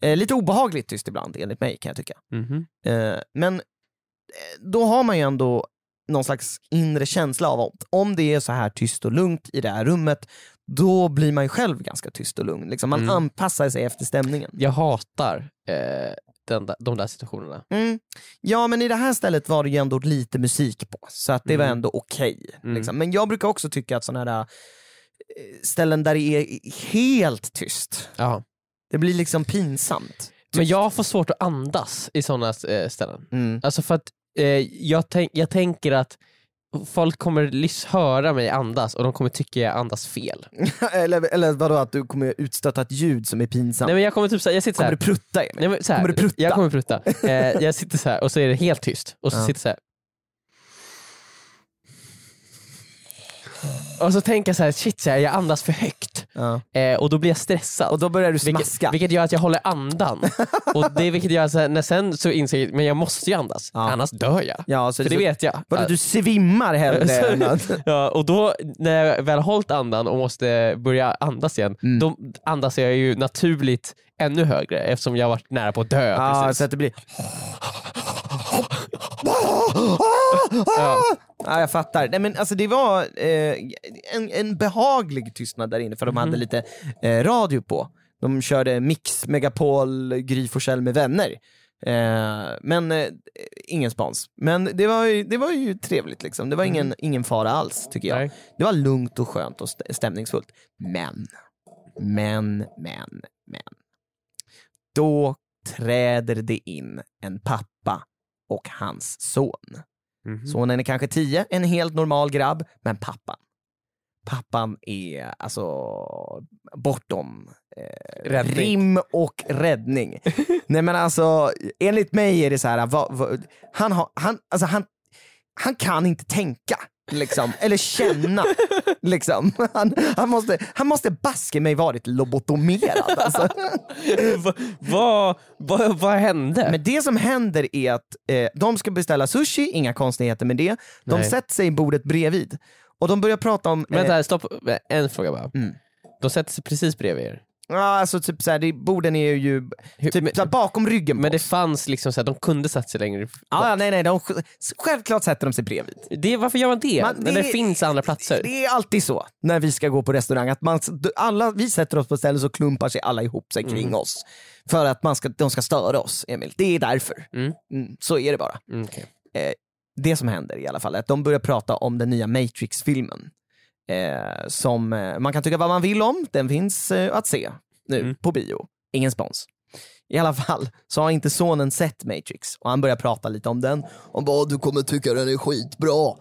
Eh, lite obehagligt tyst ibland enligt mig kan jag tycka. Mhm. Eh, men eh, då har man ju ändå någon slags inre känsla av att om det är så här tyst och lugnt i det här rummet, då blir man ju själv ganska tyst och lugn. Liksom man Mm. anpassar sig efter stämningen. Jag hatar eh, den där, de där situationerna. Mm. Ja men i det här stället var det ju ändå lite musik på, så att det var Mm. ändå okej. Mm. liksom. Men jag brukar också tycka att sådana här eh, ställen där det är helt tyst, Ja. det blir liksom pinsamt. Men jag får svårt att andas i sådana eh, ställen. Mm. Alltså för att eh, jag, tänk, jag tänker att folk kommer lys- höra mig andas och de kommer tycka jag andas fel. eller, eller vadå, att du kommer utstöta ett ljud som är pinsamt? Nej men jag kommer typ såhär, jag sitter kommer såhär. du prutta Emil? Nej, men så här, Kommer du prutta? Jag kommer prutta. Eh, jag sitter så här och så är det helt tyst och så Ja. sitter jag så här. Och så tänker jag så här, shit så här, jag andas för högt. Ja. Eh, och då blir jag stressad. Och då börjar du smaska. vilket, vilket gör att jag håller andan. och det, vilket gör att så här, när sen så inser jag men jag måste ju andas, Ja. annars dör jag. ja, så För det så, vet jag. vadå, du svimmar hellre Så- än att... Ja, och då när jag väl hållit andan och måste börja andas igen, Mm. då andas jag ju naturligt ännu högre eftersom jag varit nära på att dö. Ja, precis. så att det blir... Ja. Ja, jag fattar. Nej, men alltså, det var eh, en, en behaglig tystnad där inne för de Mhm. hade lite eh, radio på. De körde Mix Megapol Gry Forssell med vänner. Eh, men eh, ingen spons. Men det var ju, det var ju trevligt liksom. Det var ingen, ingen fara alls tycker jag. Mm. Nej. Det var lugnt och skönt och st- stämningsfullt. Men, men, men, men. Då träder det in en pappa och hans son. Mhm. Sonen är kanske 10, en helt normal grabb, men pappan. Pappan är alltså bortom eh, Räddning. rim och räddning. Nej men alltså, enligt mig är det så här, va, va, han, har, han, alltså, han, han kan inte tänka. Liksom, eller känna. Liksom. Han, han, måste, han måste baske mig varit lobotomerad. Alltså. Va- Vad vad- vad hände? Men det som händer är att eh, de ska beställa sushi, inga konstigheter med det. De Nej. sätter sig i bordet bredvid och de börjar prata om... Men eh, Vänta, stopp. En fråga bara. Mm. De sätter sig precis bredvid er. ja, alltså typ såhär, det, borden är ju Hur- typ, men- såhär, bakom ryggen Men på det oss. fanns liksom så att de kunde satt sig längre Ja, ja, nej, nej, de, sj- självklart sätter de sig bredvid. det, Varför gör man det? Man- När det, det- finns andra platser? Det är alltid så när vi ska gå på restaurang, att man, alla, vi sätter oss på ställen så klumpar sig alla ihop sig kring Mm. oss. För att man ska, de ska störa oss, Emil. Det är därför. Mm. Mm, så är det bara. Mm, okej. det som händer i alla fall är att de börjar prata om den nya Matrix-filmen. Eh, som eh, man kan tycka vad man vill om, den finns eh, att se nu Mm. på bio. Ingen spons. I alla fall så har inte sonen sett Matrix och han börjar prata lite om den. Och bara du kommer tycka den är skitbra.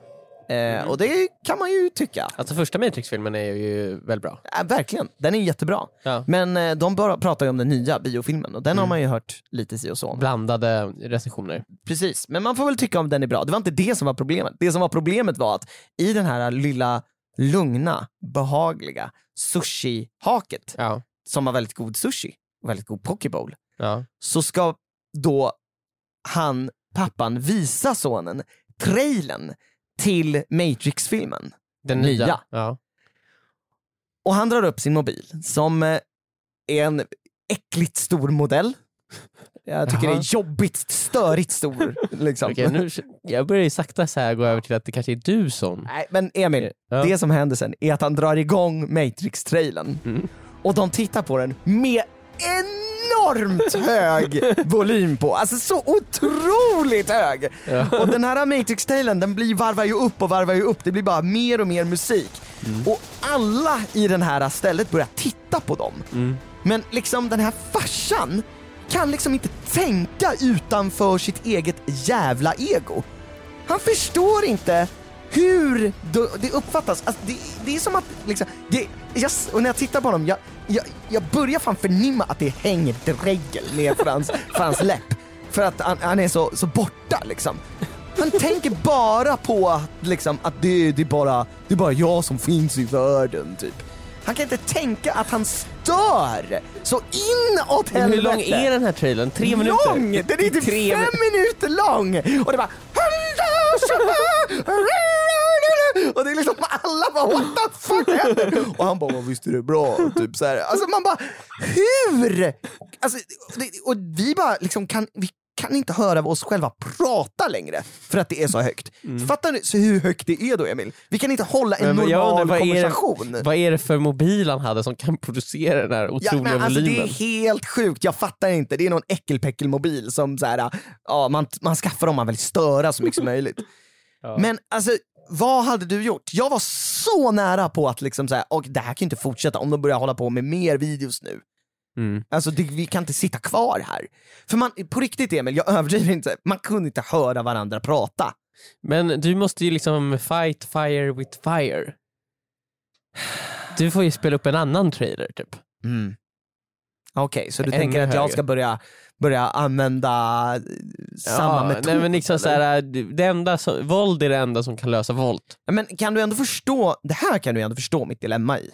Eh, Och det kan man ju tycka. Alltså första Matrix-filmen är ju väldigt bra. Ja, verkligen, den är jättebra. Ja. Men eh, de bara pratar ju om den nya biofilmen och den har man ju hört lite si och så om. Blandade recensioner. Precis, men man får väl tycka om den är bra. Det var inte det som var problemet. Det som var problemet var att i den här lilla lugna, behagliga sushi-haket Ja. som var väldigt god sushi, och väldigt god pokebowl, Ja. så ska då han, pappan, visa sonen trailern till Matrix-filmen. Den Nya. nya. Ja. Och han drar upp sin mobil som eh, är en äckligt stor modell. Jag tycker Jaha. det är jobbigt, störigt stor. Liksom. Okej, nu, jag börjar ju sakta så här gå över till att det kanske är du som... Nej, men Emil, Mm. Ja. det som händer sen är att han drar igång Matrix-trailern Mm. och de tittar på den med enormt hög volym på. Alltså så otroligt hög! Och den här Matrix-trailern den blir, varvar ju upp och varvar ju upp. Det blir bara mer och mer musik. Mm. Och alla i den här stället börjar titta på dem. Mm. Men liksom den här farsan kan liksom inte tänka utanför sitt eget jävla ego. Han förstår inte hur du- det uppfattas. Alltså, det, det är som att, liksom, det, jag, s- och när jag tittar på honom, jag, jag, jag börjar fan förnimma att det hänger dregel ner för hans, för hans läpp. För att han, han är så, så borta liksom. Han tänker bara på att, liksom, att det, det, är bara, det är bara jag som finns i världen typ. Han kan inte tänka att han stör så inåt helvete! Men hur lång är den här trailern? Tre minuter? lång! Den är typ Tre fem minuter lång! Och det bara... Och det är liksom alla bara what the fuck händer? Och han bara "Vad visst är det bra? Typ så här. Alltså man bara hur? Alltså, och det, och vi bara liksom kan, vi kan inte höra oss själva prata längre för att det är så högt. Fattar du så hur högt det är då Emil? Vi kan inte hålla en Mm. Men vad- jag normal undrar, vad är det- konversation. Vad är det för mobil han hade som kan producera den här Ja, otroliga men alltså, det volymen? är helt sjukt, jag fattar inte. Det är någon äckelpäckelmobil som så här, ja, man, man skaffar om man vill störa så mycket som möjligt. Men alltså, vad hade du gjort? Jag var så nära på att liksom så här, och det här kan ju inte fortsätta om de börjar hålla på med mer videos nu. Mm. Alltså det, vi kan inte sitta kvar här. För man, på riktigt Emil, jag överdriver inte, man kunde inte höra varandra prata. Men du måste ju liksom fight fire with fire. Du får ju spela upp en annan trailer typ. Mm. Okej, så du Ännu tänker att jag högre. ska börja, börja använda eh, samma Ja, metod? Nej, men liksom eller? så här, det enda som, våld är det enda som kan lösa våld. Men kan du ändå förstå, det här kan du ändå förstå mitt dilemma i.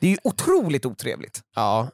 Det är ju otroligt otrevligt. Ja.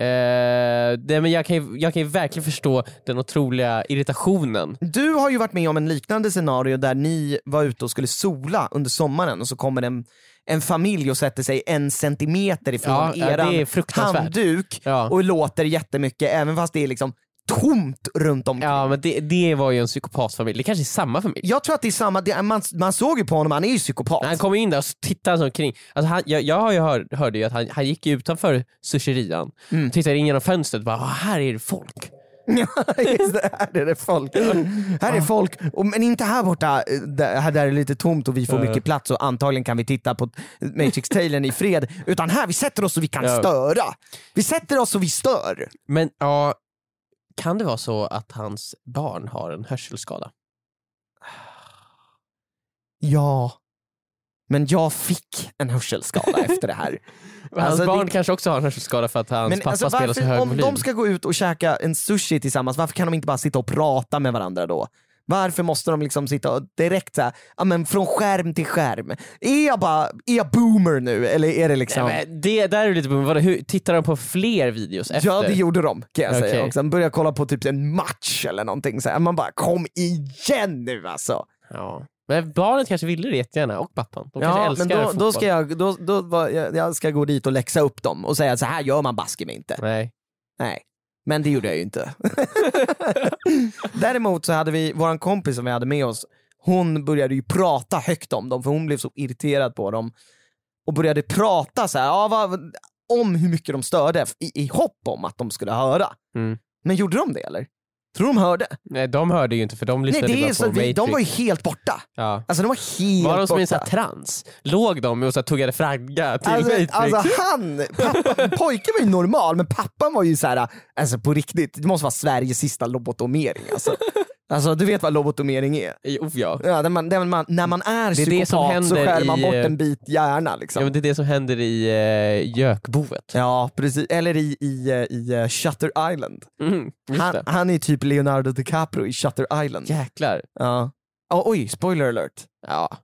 Eh, nej, men jag, kan ju, jag kan ju verkligen förstå den otroliga irritationen. Du har ju varit med om en liknande scenario där ni var ute och skulle sola under sommaren och så kommer en, en familj och sätter sig en centimeter ifrån Ja, ja, det är eran fruktansvärt. handduk Ja. och låter jättemycket även fast det är liksom tomt runt omkring. Ja, men det, det var ju en psykopatfamilj. Det kanske är samma familj. Jag tror att det är samma, det, man, man såg ju på honom, han är ju psykopat. När han kom in där och så tittade han så omkring. Alltså han, jag, jag har ju hör, Mm. hörde ju att han, han gick ju utanför susherian, tittade in genom fönstret och bara "Ah, “här är det folk”. Just det, här är det folk. Här är folk, och, men inte här borta eh, där, här där är det lite tomt och vi får mycket plats och antagligen kan vi titta på Matrix-trailern i fred. Utan här, vi sätter oss och vi kan Ja. störa. Vi sätter oss och vi stör. Men ja, kan det vara så att hans barn har en hörselskada? Ja. Men jag fick en hörselskada efter det här. Hans Alltså, barn det- kanske också har en hörselskada för att hans Men pappa alltså, spelar så varför, hög om volym. de ska gå ut och käka en sushi tillsammans, varför kan de inte bara sitta och prata med varandra då? Varför måste de liksom sitta och direkt såhär, ja men från skärm till skärm. Är jag bara, är jag boomer nu eller är det liksom? Nej, men det där är lite... Vadå, hur, tittar de på fler videos efter? Ja det gjorde de kan jag säga. Okej. Och sen började jag kolla på typ en match eller någonting så här. Man bara kom igen nu alltså. Ja. Men barnet kanske ville det jättegärna, och pappan. De kanske Ja men älskar då, fotboll. då ska jag, då, då, var- jag, jag ska gå dit och läxa upp dem och säga så här gör man baske mig inte. Nej. Nej, men det gjorde jag ju inte. Däremot så hade vi vår kompis som vi hade med oss, hon började ju prata högt om dem för hon blev så irriterad på dem och började prata så här, ja, vad, om hur mycket de störde i, i hopp om att de skulle höra. Mm. Men gjorde de det eller? Tror de hörde? Nej, de hörde ju inte för de Nej, lyssnade det bara är på så att vi, Matrix. de var ju helt borta. ja. Alltså de var helt Var de som i en sån borta. här trans? Låg de och så här tuggade fragga till Alltså, Matrix? alltså han, pappa, pojken var ju normal men pappan var ju så här, alltså på riktigt, det måste vara Sveriges sista lobotomering alltså. Alltså du vet vad lobotomering är? Jo, oh ja. Ja, när, man, när, man, när man är Det är psykopat det som så händer skär man i, bort eh, en bit hjärna liksom. Ja, Ja, men det är det som händer i eh, Jökboet. precis, eller i, i, eh, i eh, Shutter Island. Mm, just Han, det. han är typ Leonardo DiCaprio i Shutter Island. Jäklar. Ja. Ja, oj, spoiler alert. Ja.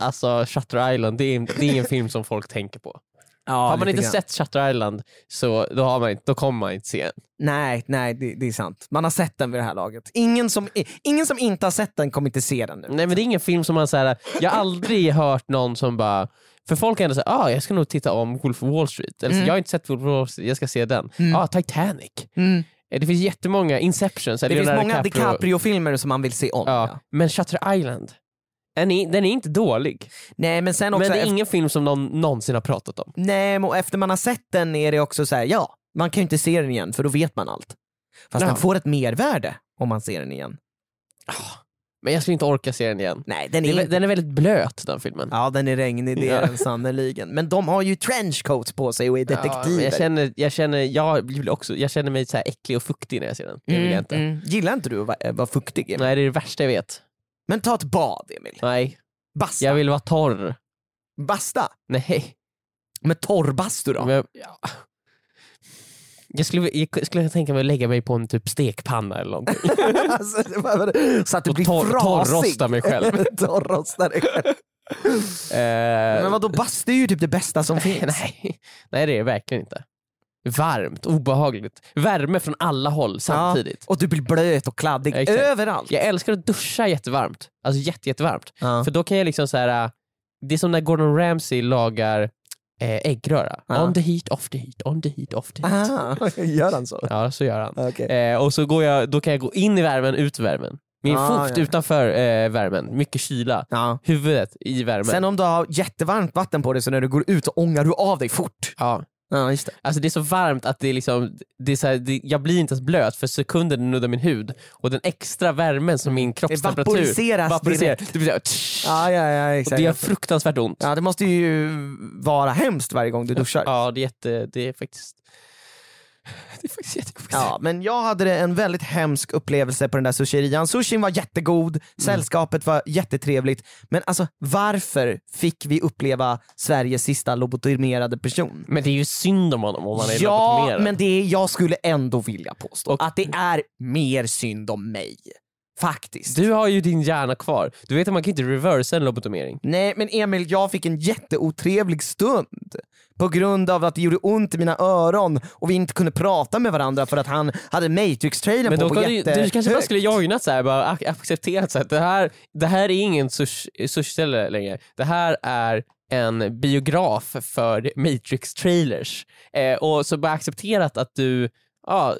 Alltså Shutter Island, det är, det är en film som folk tänker på. Ja, har man lite inte grann. sett Shutter Island så då, har man inte, då kommer man inte se den. Nej, nej det, det är sant. Man har sett den vid det här laget. Ingen som, i- ingen som inte har sett den kommer inte se den nu. Nej men det är ingen film som man såhär, jag har aldrig hört någon som bara för folk är ändå såhär, ah, jag ska nog titta om Wolf of Wall Street. Eller, så, Mm. Jag har inte sett Wolf of Wall Street, jag ska se den. Ah, Titanic. Mm. Eh, Det finns jättemånga, Inception, så här, Det finns Leonardo många DiCaprio-filmer som man vill se om. Ja. Ja. Men Shutter Island, den är, den är inte dålig. Nej, men sen också Men det är efter, ingen film som någon någonsin har pratat om. nej, men efter man har sett den är det också så här, ja, man kan ju inte se den igen för då vet man allt. Fast Ja. den får ett mervärde om man ser den igen. Men jag skulle inte orka se den igen. Nej, den Det är, är vä- inte- Den är väldigt blöt den filmen. Ja, den är regnig, det är Ja. den sannerligen. Men de har ju trenchcoats på sig och är Ja, men detektiver. jag, känner, jag, känner, jag, blir också, jag känner mig så här äcklig och fuktig när jag ser den. Det vill jag Mm, inte. mm. Gillar inte du att vara- vara fuktig? Emil? Nej, det är det värsta jag vet. Men ta ett bad, Emil. Nej, Basta. jag vill vara torr. Basta. Nej. Med torrbastu då? Men jag, ja. jag, skulle, jag skulle tänka mig att lägga mig på en typ stekpanna eller någonting. alltså, det var- så att du Och blir torr- frasig. torrrosta mig själv. torrrosta dig själv. Eh, Men vadå, bastu är ju typ det bästa som finns. Nej. Nej, det är det verkligen inte. Varmt, obehagligt. Värme från alla håll samtidigt. Ja, och du blir blöt och kladdig Exakt. överallt. Jag älskar att duscha jättevarmt. Alltså jätte, jättevarmt. Ja. För då kan jag liksom så här. äh, Det är som när Gordon Ramsay lagar eh, äggröra. Ja. On the heat, off the heat, on the heat, off the heat. Ah, gör han så? Ja, så gör han. Okej. Eh, och så går jag, då kan jag gå in i värmen, ut i värmen. Min Ah, fot ja. utanför eh, värmen, mycket kyla. Ja. Huvudet i värmen. Sen om du har jättevarmt vatten på dig så när du går ut så ångar du av dig fort. ja. Ja, just det. Alltså det är så varmt att det är liksom, det är så här, det, jag blir inte ens blöt för sekunden den nuddar min hud och den extra värmen som min kroppstemperatur vaporiseras direkt. Det blir så här, tsch, Ja, ja, ja, och exakt. det gör fruktansvärt ont. Ja, det måste ju vara hemskt varje gång du duschar. Ja, det är, jätte, det är faktiskt... Det är faktiskt jättejobbigt. Ja, men jag hade det en väldigt hemsk upplevelse på den där sushirian. Sushin var Mm. jättegod, sällskapet var jättetrevligt. Men alltså varför fick vi uppleva Sveriges sista lobotomerade person? Men det är ju synd om honom om han är Ja, lobotomerad. men det är, jag skulle ändå vilja påstå Och- att det är mer synd om mig. Faktiskt. Du har ju din hjärna kvar. Du vet att man kan inte reversa en lobotomering. Nej men Emil, jag fick en jätteotrevlig stund på grund av att det gjorde ont i mina öron och vi inte kunde prata med varandra för att han hade Matrix-trailern Men på, då på kan du, du kanske bara jättehögt. skulle joinat så här, bara ac- accepterat så här, att det här, det här är ingen sush- sushi-ställe längre. Det här är en biograf för Matrix-trailers. Eh, och så bara accepterat att du, ja,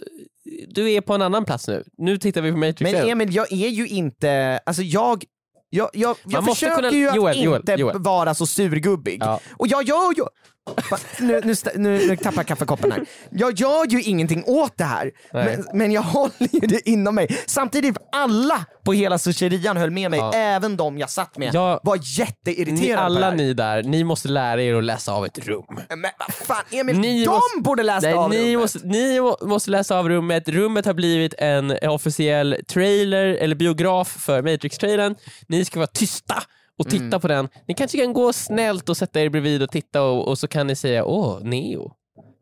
du är på en annan plats nu. Nu tittar vi på Matrix. Men igen. Emil, jag är ju inte, alltså jag jag, jag, jag Man måste försöker kunna- ju att Joel, Joel, inte Joel. vara så surgubbig. Ja. Och jag gör ju, Va? Nu, nu, sta- nu, nu tappar jag kaffekoppen här. Jag gör ju ingenting åt det här, men, men jag håller ju det inom mig. Samtidigt, alla på hela susherian höll med mig, även de jag satt med Ja. var Ni, jätteirriterade på det alla här. ni där, ni måste lära er att läsa av ett rum. Men vad fan Emil, Ni de måste- borde läsa Nej, av ni, rummet. måste, ni må- måste läsa av rummet. Rummet har blivit en officiell trailer eller biograf för Matrix-trailern. Ni ska vara tysta och titta Mm. på den. Ni kanske kan gå snällt och sätta er bredvid och titta och, och så kan ni säga åh, Neo.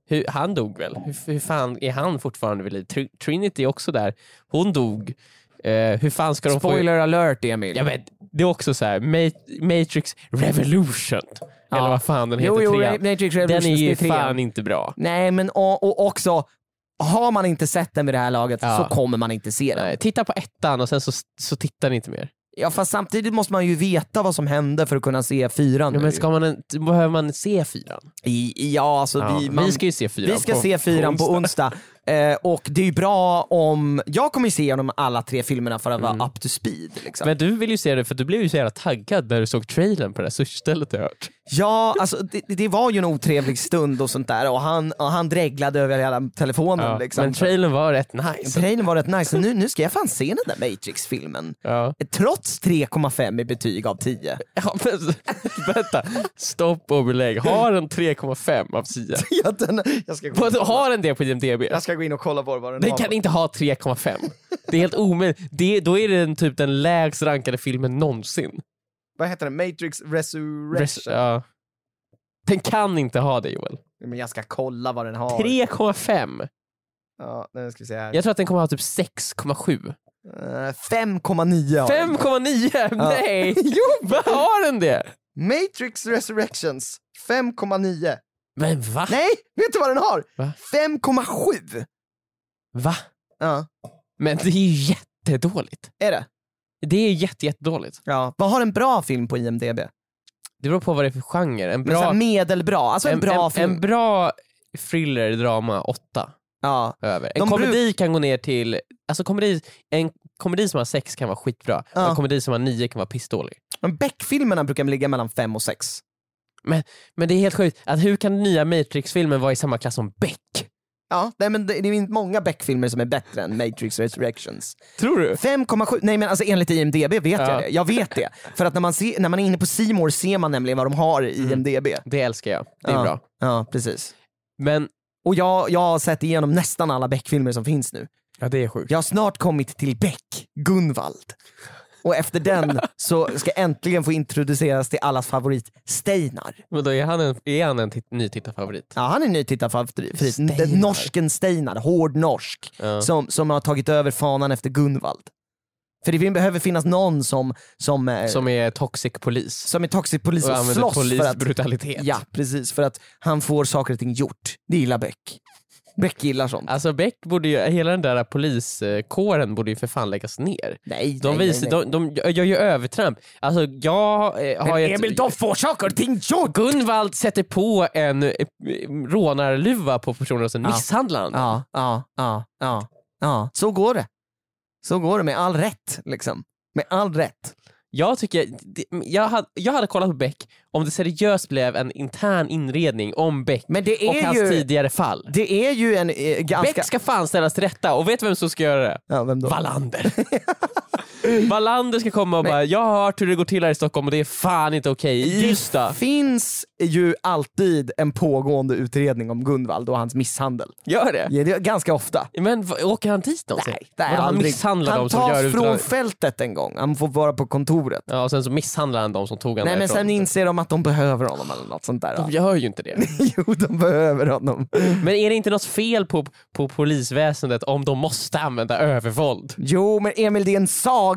Hur, han dog väl? Hur, hur fan är han fortfarande vid liv? Tr- Trinity är också där. Hon dog. Eh, hur fan ska de få... Spoiler alert Emil. Jag vet, det är också så här, Ma- Matrix Revolution. Eller vad fan den heter. Jo, jo, trean. Matrix den är Revolutions, det ju är trean. fan inte bra. Nej, men och, och också, har man inte sett den vid det här laget Ja. så kommer man inte se den. Nej, Eh, titta på ettan och sen så, så tittar ni inte mer. Ja, fast samtidigt måste man ju veta vad som hände för att kunna se fyran. Ja, nu. men ska man, en- behöver man se fyran? I, ja, alltså Ja, vi, man, vi ska ju se fyran vi ska på, se fyran på onsdag. onsdag. Eh, och det är ju bra om, jag kommer ju se igenom alla tre filmerna för att vara up to speed. Liksom. Men du vill ju se det för du blev ju så jävla taggad när du såg trailern på det här sushistället har jag hört. Ja, alltså det, det var ju en otrevlig stund och sånt där och han, och han dreglade över hela telefonen. Ja, liksom. Men trailern var rätt nice. Trailern var rätt nice, nu, nu ska jag fan se den där Matrix-filmen. Ja. Trots 3,5 i betyg av 10. Ja, men, vänta, stopp och belägg. Har den 3,5 av 10? Ja, den, jag, ska gå Vad, in, Har den det på IMDB? jag ska gå in och kolla på vad den Den har. kan inte ha 3,5. Det är helt omöjligt. Det, då är det den, typ den lägst rankade filmen någonsin. Vad heter den? Matrix Resurrection? Res- ja. Den kan inte ha det Joel. Men jag ska kolla vad den har. 3,5. Ja, nu ska vi se här. Jag tror att den kommer ha typ 6,7. Eh, 5,9 har den. 5,9! Nej! jo, vad har den det? Matrix Resurrections 5,9. Men va? Nej, vet du vad den har? Va? 5,7! Va? Ja, Men det är ju jättedåligt. är det? Det är jätte, jättedåligt. Ja. Vad har en bra film på IMDB? Det beror på vad det är för genre. En Men så här bra, medelbra, alltså en, bra en, film. en bra thriller, drama, 8. ja. över. En De komedi kan gå ner till, alltså komedi, en komedi som har sex kan vara skitbra, Ja. och en komedi som har nio kan vara pissdålig. Men Beck-filmerna brukar ligga mellan 5 och 6. Men det är helt sjukt, att hur kan nya Matrix-filmen vara i samma klass som Beck? Ja, nej, men det, det är inte många Beck-filmer som är bättre än Matrix Resurrections. Tror du? 5,7, nej men alltså enligt IMDB vet jag Ja. det. Jag vet det. För att när man, ser, när man är inne på C More ser man nämligen vad de har i IMDB. Det älskar jag, Mm. det är Ja. bra. Ja, precis. Men, Och jag, jag har sett igenom nästan alla Beck-filmer som finns nu. ja det är sjukt. Jag har snart kommit till Beck, Gunvald. Och efter den så ska jag äntligen få introduceras till allas favorit Steinar. Men då är han en, är han en tit- ny tittarfavorit? Ja, han är nytittarfavorit. Steinar. Den Norsken Steinar, hård norsk, Ja. som, som har tagit över fanan efter Gunvald. För det fin- behöver finnas någon som, som, eh, som, Som är toxic polis är toxisk polis och och använder slåss för att... polisbrutalitet. Ja, precis. För att han får saker och ting gjort. Det gillar Beck. Beck gillar sånt. Alltså Beck borde ju, hela den där poliskåren borde ju för fan läggas ner. nej, De, nej, vis, nej, nej. de, de gör ju övertramp. Alltså jag eh, har ju ett- Emil, de får saker och ting gjort! Gunvald sätter på en eh, rånarluva på personen och sen Ja. misshandlar han. Ja, ja, ja, ja, ja. Så går det. Så går det med all rätt, liksom. Med all rätt. Jag, tycker, det- jag, hade, jag hade kollat på Beck om det seriöst blev en intern inredning om Beck Men det och är hans ju- tidigare fall. Det är ju en eh, ganska... Beck ska fan ställas till rätta och vet vem som ska göra det? Ja, vem då? Wallander. Wallander ska komma och bara, jag har hört hur det går till här i Stockholm och det är fan inte okej i Ystad. Det finns ju alltid en pågående utredning om Gunvald och hans misshandel. Gör det? Ja, det är ganska ofta. Alltså, Men vad- åker han dit någonsin? det är Vadå, han aldrig- misshandlar han dem som tas gör från utdrag- fältet en gång, han får vara på kontoret. Ja, och sen så misshandlar han dem som tog honom Nej men därifrån. sen inser de att de behöver honom eller något sånt där. De va? gör ju inte det. Jo, de behöver honom. Men är det inte något fel på, på polisväsendet om de måste använda övervåld? Jo, men Emil, det är en saga!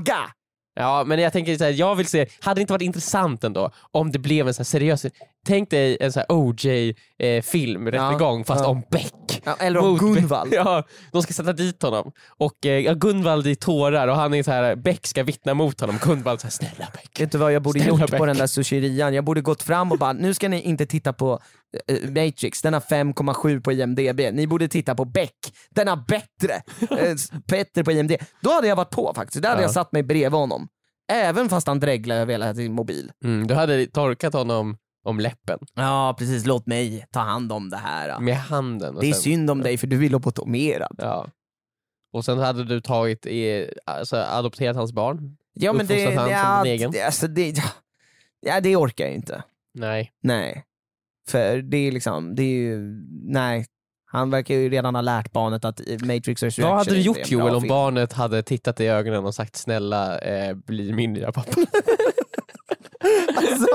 Ja, men jag tänker så här, jag vill se, hade det inte varit intressant ändå om det blev en så här seriös, tänk dig en så här OJ-film, rättegång, fast ja. om Beck. Ja, eller om Mot Beck. Gunvald. Ja, de ska sätta dit honom. Och eh, ja, Gunvald i tårar och han är så här, Beck ska vittna mot honom. Gunvald säger snälla Beck. Vet du vad jag borde Snälla gjort på Beck. den där sushirian? Jag borde gått fram och bara, nu ska ni inte titta på eh, Matrix, den har 5,7 på IMDB. Ni borde titta på Beck, den har bättre, eh, s- bättre på IMDB. Då hade jag varit på faktiskt, då hade Ja. jag satt mig bredvid honom. Även fast han dreglade över hela sin mobil. Mm, du hade torkat honom om läppen Ja, precis. Låt mig ta hand om det här. då. med handen. Och Det är sen- synd om dig för du är lobotomerad. Ja. Och sen hade du tagit, eh, alltså, adopterat hans barn? Ja, men det, Uppfostrat han som ja, din egen? det, alltså, det, ja, ja, det orkar jag inte. Nej. Nej. För det är liksom, det är ju, nej. Han verkar ju redan ha lärt barnet att eh, Matrix Resurrection Vad hade du inte är gjort en bra Joel om film. barnet hade tittat i ögonen och sagt snälla eh, bli min nya pappa? Alltså,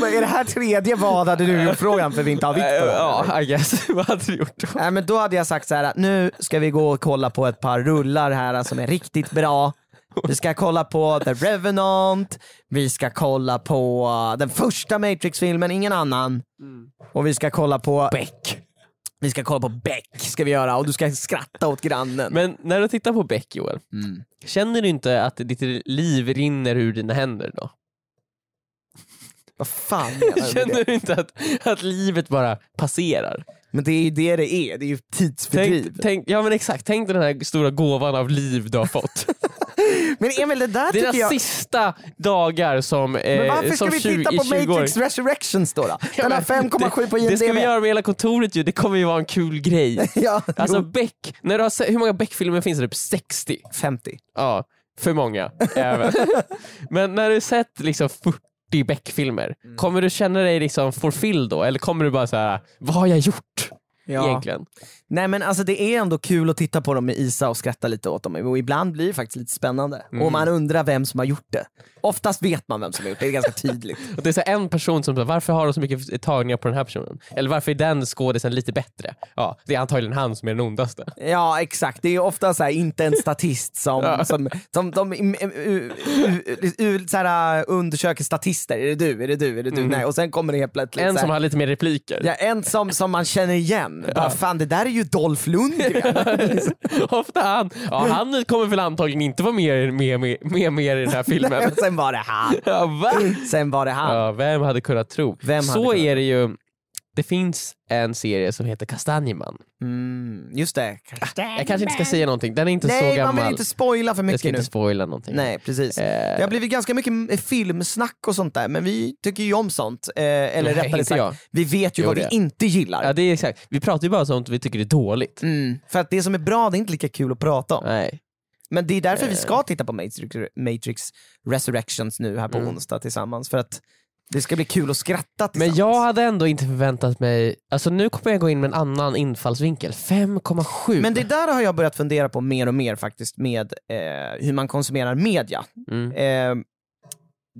vad är det här tredje vad hade du gjort frågan för vi inte har vikt på dem? Ja, I guess. Vad hade du gjort då? Nej men då hade jag sagt så här att nu ska vi gå och kolla på ett par rullar här alltså, som är riktigt bra. Vi ska kolla på The Revenant, vi ska kolla på den första Matrix-filmen, ingen annan. Och vi ska kolla på Beck. Vi ska kolla på Beck ska vi göra och du ska skratta åt grannen. Men när du tittar på Beck Joel, Mm. känner du inte att ditt liv rinner ur dina händer då? Vad fan menar du med det? Känner du inte att, att livet bara passerar? Men det är ju det det är, det är ju tidsfördriv. Tänk, tänk, ja men exakt, tänk den här stora gåvan av liv du har fått. Men Emil det där Dina tycker jag... sista dagar som eh, Men varför ska som vi 20 titta i på 20 år. Matrix Resurrections då? då? Ja, Den har men 5,7 på det- Det ska vi IMDB. göra med hela kontoret ju, det kommer ju vara en kul grej. Ja, Alltså Beck, när du har se- hur många Beck-filmer finns det? Typ 60? 50. Ja, för många. även. Men när du sett liksom 40 Beck-filmer, Mm. kommer du känna dig liksom fulfilled då? Eller kommer du bara så här, vad har jag gjort egentligen? Nej men alltså det är ändå kul att titta på dem med Isa och skratta lite åt dem och ibland blir det faktiskt lite spännande. Mm. Och man undrar vem som har gjort det. Oftast vet man vem som har gjort det, det är ganska tydligt. Och det är så här en person som säger, varför har de så mycket tagningar på den här personen? Eller varför är den skådisen lite bättre? Ja, det är antagligen han som är den ondaste. Ja exakt, det är ju ofta så här, inte en statist som, som, som de im- im- u- u- u- så här, äh, undersöker statister. Är det du? Är det du? Är det du? Nej. Och sen kommer det helt plötsligt Mhm. En så här, som har lite mer repliker. Ja, en som, som man känner igen. Bara, fan det där är ju Dolph Lundgren. Ofta han. Ja, han kommer väl antagligen inte vara med mer med, med, med i den här filmen. Och sen var det han. Ja, va? Sen var det han. Ja, vem hade kunnat tro? Vem hade så kunnat är det ju. Det finns en serie som heter Kastanjeman. Mm, just det. Jag kanske inte ska säga någonting, den är inte så Nej, man gammal. vill inte spoila för jag ska mycket nu. inte spoila någonting. Nej, precis. Eh. Det har blivit ganska mycket m- filmsnack och sånt där, men vi tycker ju om sånt. Eh, eller Nej, rättare inte sagt, jag. vi vet ju Jo, vad det. vi inte gillar. Ja, det är exakt. Vi pratar ju bara om sånt vi tycker det är dåligt. Mm, för att det som är bra, det är inte lika kul att prata om. Nej. Eh. Men det är därför vi ska titta på Matrix, Matrix Resurrections nu här på onsdag tillsammans. För att det ska bli kul att skratta Mm. Men tillsammans. jag hade ändå inte förväntat mig, alltså nu kommer jag gå in med en annan infallsvinkel. 5,7. Men det där har jag börjat fundera på mer och mer faktiskt med eh, hur man konsumerar media. Mm. Eh,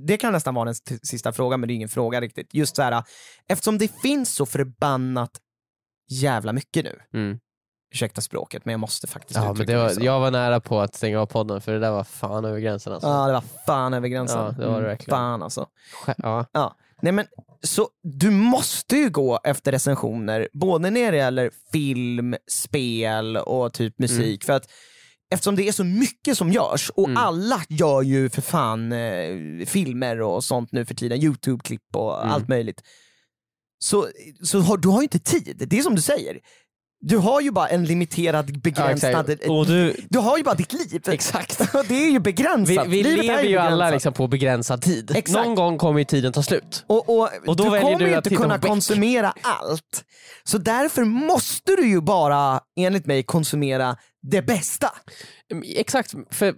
det kan nästan vara den st- sista frågan, men det är ingen fråga riktigt. Just så här, eftersom det finns så förbannat jävla mycket nu. Mm. Ursäkta språket, men jag måste faktiskt Ja, men uttrycka det mig så. var, jag var nära på att stänga av podden för det där var fan över gränsen alltså. Ja, det var fan över gränsen. Ja, det var det Mm, verkligen. Fan alltså. Skä- Ja. Ja. Nej, men, så du måste ju gå efter recensioner, både när det gäller film, spel och typ Mm. musik. För att Eftersom det är så mycket som görs och Mm. alla gör ju för fan eh, filmer och sånt nu för tiden, Youtube-klipp och Mm. allt möjligt. Så, så har, du har ju inte tid, det är som du säger. Du har ju bara en limiterad, Ja, begränsad... exakt. Och du, du har ju bara ditt liv. Exakt. Och det är ju begränsat. Vi, vi Livet är lever ju alla begränsat. liksom på begränsad tid. Exakt. Någon gång kommer ju tiden ta slut. Och, och, Och då du väljer kommer du ju att inte titta på kunna Beck. konsumera allt. Så därför måste du ju bara, enligt mig, konsumera det bästa. Mm, Exakt, för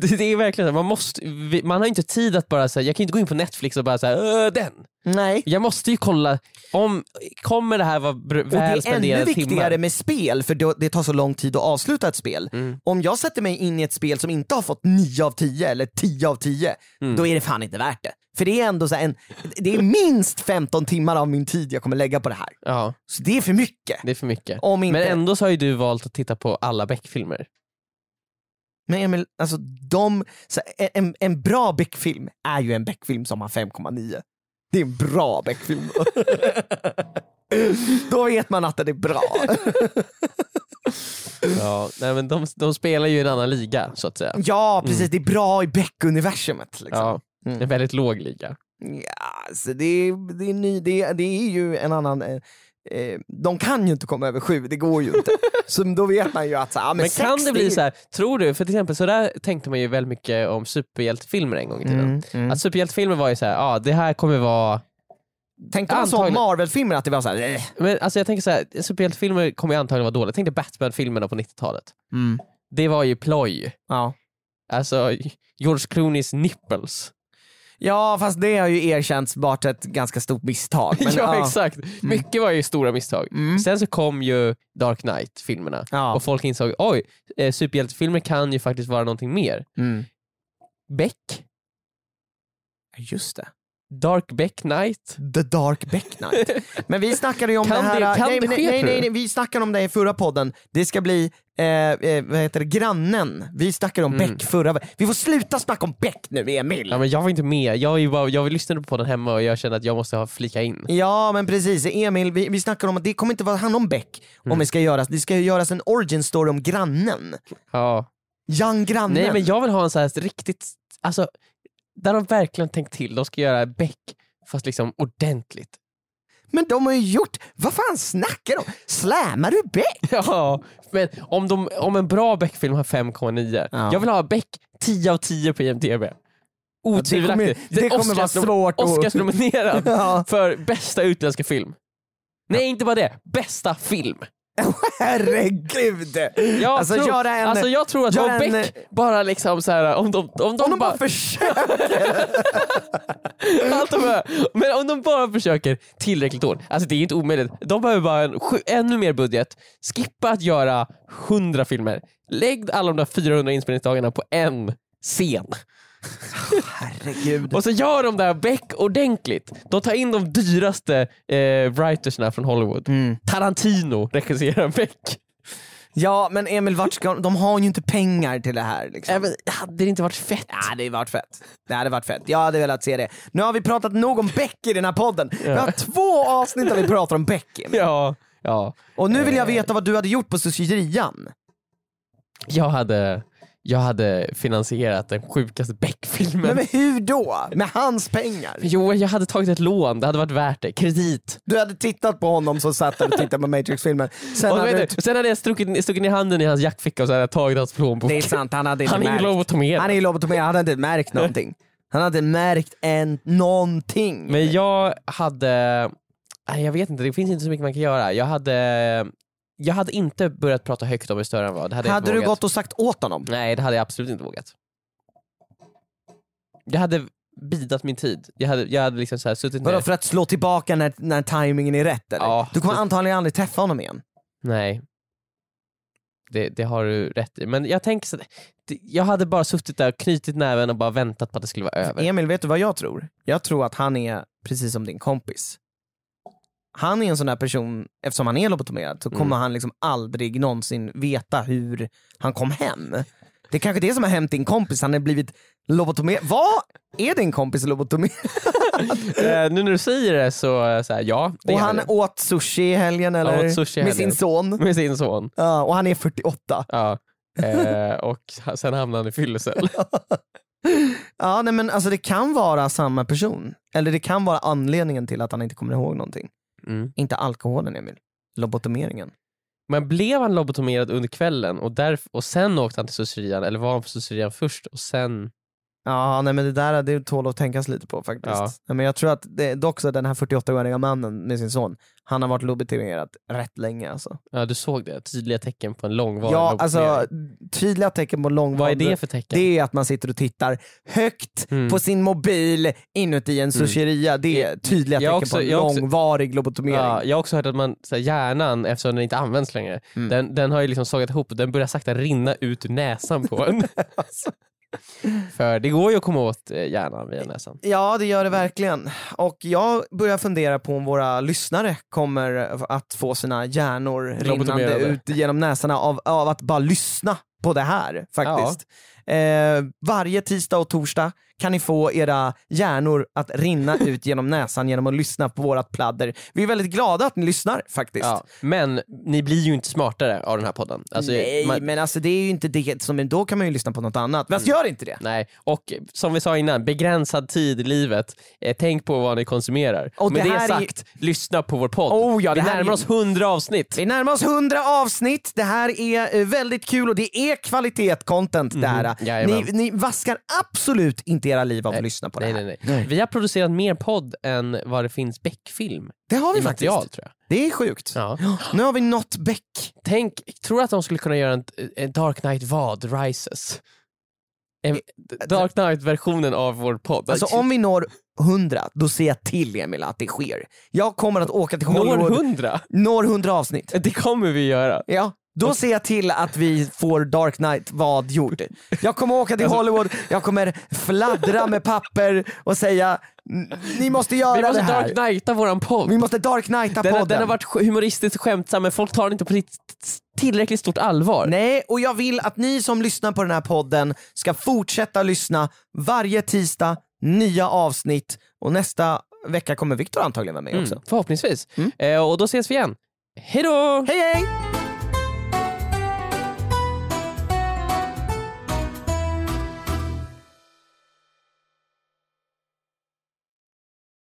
det det är verkligen så här, man, måste, vi- man har inte tid att bara säga, jag kan ju inte gå in på Netflix och bara säga "Öh, den. Nej. Jag måste ju kolla, om, kommer det här vara br- Och det väl är ännu spenderade viktigare timmar? med spel, för då- det tar så lång tid att avsluta ett spel. Mm. Om jag sätter mig in i ett spel som inte har fått 9 av 10 eller 10 av 10, Mm. då är det fan inte värt det. För det är ändå så här en, det är minst 15 timmar av min tid jag kommer lägga på det här. Ja, Så det är för mycket. det är för mycket. Om inte- Men ändå så har ju du valt att titta på alla Beck-filmer. Men Emil, alltså de, så här, en, en bra Beck-film är ju en Beck-film som har 5,9. Det är en bra Beck-film. Då vet man att den är bra. Ja, nej, men de, de spelar ju i en annan liga så att säga. Ja, precis. Det är bra i Beck-universumet. Liksom. Mm. Ja, En väldigt låg liga. Ja, så det, är- det, är ny, det, är- det är ju en annan... Eh, eh, de kan ju inte komma över sju, det går ju inte. Så då vet man ju att... Så, här, ah, men Men sex, kan det är- bli så här, tror du, för till exempel så där tänkte man ju väldigt mycket om superhjältefilmer en gång i tiden. Mm, mm. Att superhjältefilmer var ju så här, ja det här kommer vara Tänkte man så om Antagligen. Marvel-filmer att det var såhär... Äh. Men alltså jag tänker så här, superhjältefilmer kommer ju antagligen vara dåliga. Jag tänkte Batman-filmerna på 90-talet. Mm. Det var ju ploj. Ja. Alltså George Clooneys nipples. ja, fast det har ju erkänts vart ett ganska stort misstag. Men, Mm. ja, exakt. Mycket var ju stora misstag. Sen så kom ju Dark Knight-filmerna Ja. och folk insåg oj, eh, superhjältefilmer kan ju faktiskt vara någonting mer. Mm. Beck, Just det. Dark Beck Knight. The Dark Beck Knight. Men vi snackade ju om Kan det här... det- kan nej, det men ske, nej, tror nej, du? nej, vi snackade om det i förra podden. Det ska bli, eh, eh, vad heter det, grannen. Vi snackade om Mm. Beck förra... Vi får sluta snacka om Beck nu, Emil! Ja, men jag var inte med, jag, är ju bara, jag lyssnade på den hemma och jag kände att jag måste ha flika in. Ja men precis, Emil vi, vi snackar om att det kommer inte vara hand om Beck Mm. om vi ska göra, det ska ju göras en origin story om grannen. Ja. Young grannen. Nej men jag vill ha en så här riktigt, alltså där de verkligen tänkt till. De ska göra Beck fast liksom ordentligt. Men de har ju gjort, vad fan snackar de? Slammar du Beck? Ja, men om, de, om en bra Beck-film har 5,9. Ja. Jag vill ha Beck 10 av 10 på IMDB. Otvivelaktigt. det kommer vara Oscars- svårt att- Oscarsnominerad Ja. för bästa utländska film. Nej, inte bara det. Bästa film. Herregud! Jag, alltså tror, göra en... alltså jag tror att gör om en- Beck bara liksom så här, om de, om de, om de bara bara, försöker! allt de här, men om de bara försöker tillräckligt hårt, alltså det är inte omöjligt. De behöver bara en, sju- ännu mer budget, skippa att göra 100 filmer, lägg alla de där 400 inspelningsdagarna på en scen. Herregud. Och så gör de där Beck ordentligt. De tar in de dyraste eh, writersna från Hollywood. Mm. Tarantino regisserar Beck. Ja men Emil vart ska de har ju inte pengar till det här liksom. Även, hade det inte varit fett? Ja, det hade ju varit fett. Det hade varit fett. Jag hade velat se det. Nu har vi pratat nog om Beck i den här podden. Vi har två avsnitt där vi pratar om Beck. Emil. Ja, ja. Och nu vill jag veta vad du hade gjort på Syrian. Jag hade, jag hade finansierat den sjukaste Men, Beck-filmen. men hur då? Med hans pengar? Jo, jag hade tagit ett lån. Det hade varit värt det. Kredit. Du hade tittat på honom som satt där och tittade på Matrix-filmen. Sen Och hade vet du- du, sen hade jag stuckit, stuckit ner handen i hans jackficka och så hade jag tagit hans plånbok. Det är sant, han hade inte Han är ju märkt. lobotomerad. han är ju lobotomerad, han hade inte märkt någonting. Han hade inte märkt en, någonting. Men jag hade... Nej, jag vet inte, det finns inte så mycket man kan göra. Jag hade, jag hade inte börjat prata högt om hur större han var. Det hade, jag hade inte du vågat. gått och sagt åt honom? Nej, det hade jag absolut inte vågat. Jag hade bidat min tid. Jag hade, jag hade liksom så här suttit Vadå ner. för att slå tillbaka när, när timingen är rätt eller? Ja. Du kommer antagligen aldrig träffa honom igen. Nej. Det, det har du rätt i. Men jag tänker så det- jag hade bara suttit där och knutit näven och bara väntat på att det skulle vara över. Emil, vet du vad jag tror? Jag tror att han är precis som din kompis. Han är en sån där person, eftersom han är lobotomerad, så kommer Mm. han liksom aldrig någonsin veta hur han kom hem. Det är kanske det som har hänt din kompis, han har blivit lobotomerad. Vad är din kompis lobotomerad? Eh, nu när du säger det så, eh, så här, ja. Det Och är han det. åt sushi i helgen eller? åt sushi i Med helgen. sin son. med sin son. Ja, och han är 48. Ja. Eh, och ha- sen hamnade han i fyllecell. Ja, nej, men alltså det kan vara samma person. Eller det kan vara anledningen till att han inte kommer ihåg någonting. Mm. Inte alkoholen Emil, lobotomeringen. Men blev han lobotomerad under kvällen och, därf- och sen åkte han till Susserian eller var han på Susserian först och sen... Ja, nej men det där det tål att tänkas lite på faktiskt. Ja. Nej, men jag tror att det, dock så den här 48-åriga mannen med sin son, han har varit lobotomerad rätt länge alltså. Ja, du såg det. Tydliga tecken på en långvarig Ja, lobotomering. alltså tydliga tecken på långvarig... Vad är det för tecken? Det är att man sitter och tittar högt Mm. på sin mobil inuti en sushiria. Det är tydliga Jag tecken också- på en jag också- långvarig lobotomering. Ja, jag har också hört att man, så här, hjärnan, eftersom den inte används längre, Mm. den, den har ju liksom sågat ihop och den börjar sakta rinna ut ur näsan på en. Alltså. För det går ju att komma åt eh, hjärnan via näsan. Ja det gör det verkligen. Och jag börjar fundera på om våra lyssnare kommer att få sina hjärnor rinnande Lobotomerade. ut genom näsarna av, av att bara lyssna på det här faktiskt. Eh, varje tisdag och torsdag kan ni få era hjärnor att rinna ut genom näsan genom att lyssna på vårat pladder. Vi är väldigt glada att ni lyssnar faktiskt. Ja. Men ni blir ju inte smartare av den här podden. Alltså, Nej man- Mm. men alltså det är ju inte det, som, då kan man ju lyssna på något annat. Fast gör inte det! Nej, och som vi sa innan, begränsad tid i livet. Eh, tänk på vad ni konsumerar. Och Med det det, här är ju- sagt, lyssna på vår podd. Oh ja, vi det här är närmar ju- oss 100 avsnitt. Vi närmar oss 100 avsnitt, det här är eh, väldigt kul och det är kvalitet content det här. Mhm. Jajamän. Ni, ni vaskar absolut inte era liv av att lyssna på det Nej, här. nej, nej. Vi har producerat mer podd än vad det finns Beck-film Det har vi i faktiskt. material tror jag. Det är sjukt. Ja. Nu har vi nått Beck. Tänk, tror du att de skulle kunna göra en, en Dark Knight vad? Rises? En, Dark Knight-versionen av vår podd. Eh, Typ Alltså om vi når 100, då ser jag till Emil att det sker. Jag kommer att åka till Når Hollywood, 100? når 100 avsnitt. Det kommer vi göra. Ja, då ser jag till att vi får Dark Knight vad gjord. Jag kommer åka Alltså- till Hollywood, jag kommer fladdra med papper och säga ni måste göra Vi måste det här. Dark Knighta våran podd. Vi måste Dark Knighta Den, podden. har- den har varit sk- humoristiskt skämtsam men folk tar den inte på rikt- tillräckligt stort allvar. Nej, och jag vill att ni som lyssnar på den här podden ska fortsätta lyssna varje tisdag, nya avsnitt och nästa Mm. vecka kommer Viktor antagligen vara med också. Förhoppningsvis. Eh, och då ses vi igen. Hej då! Hej hej!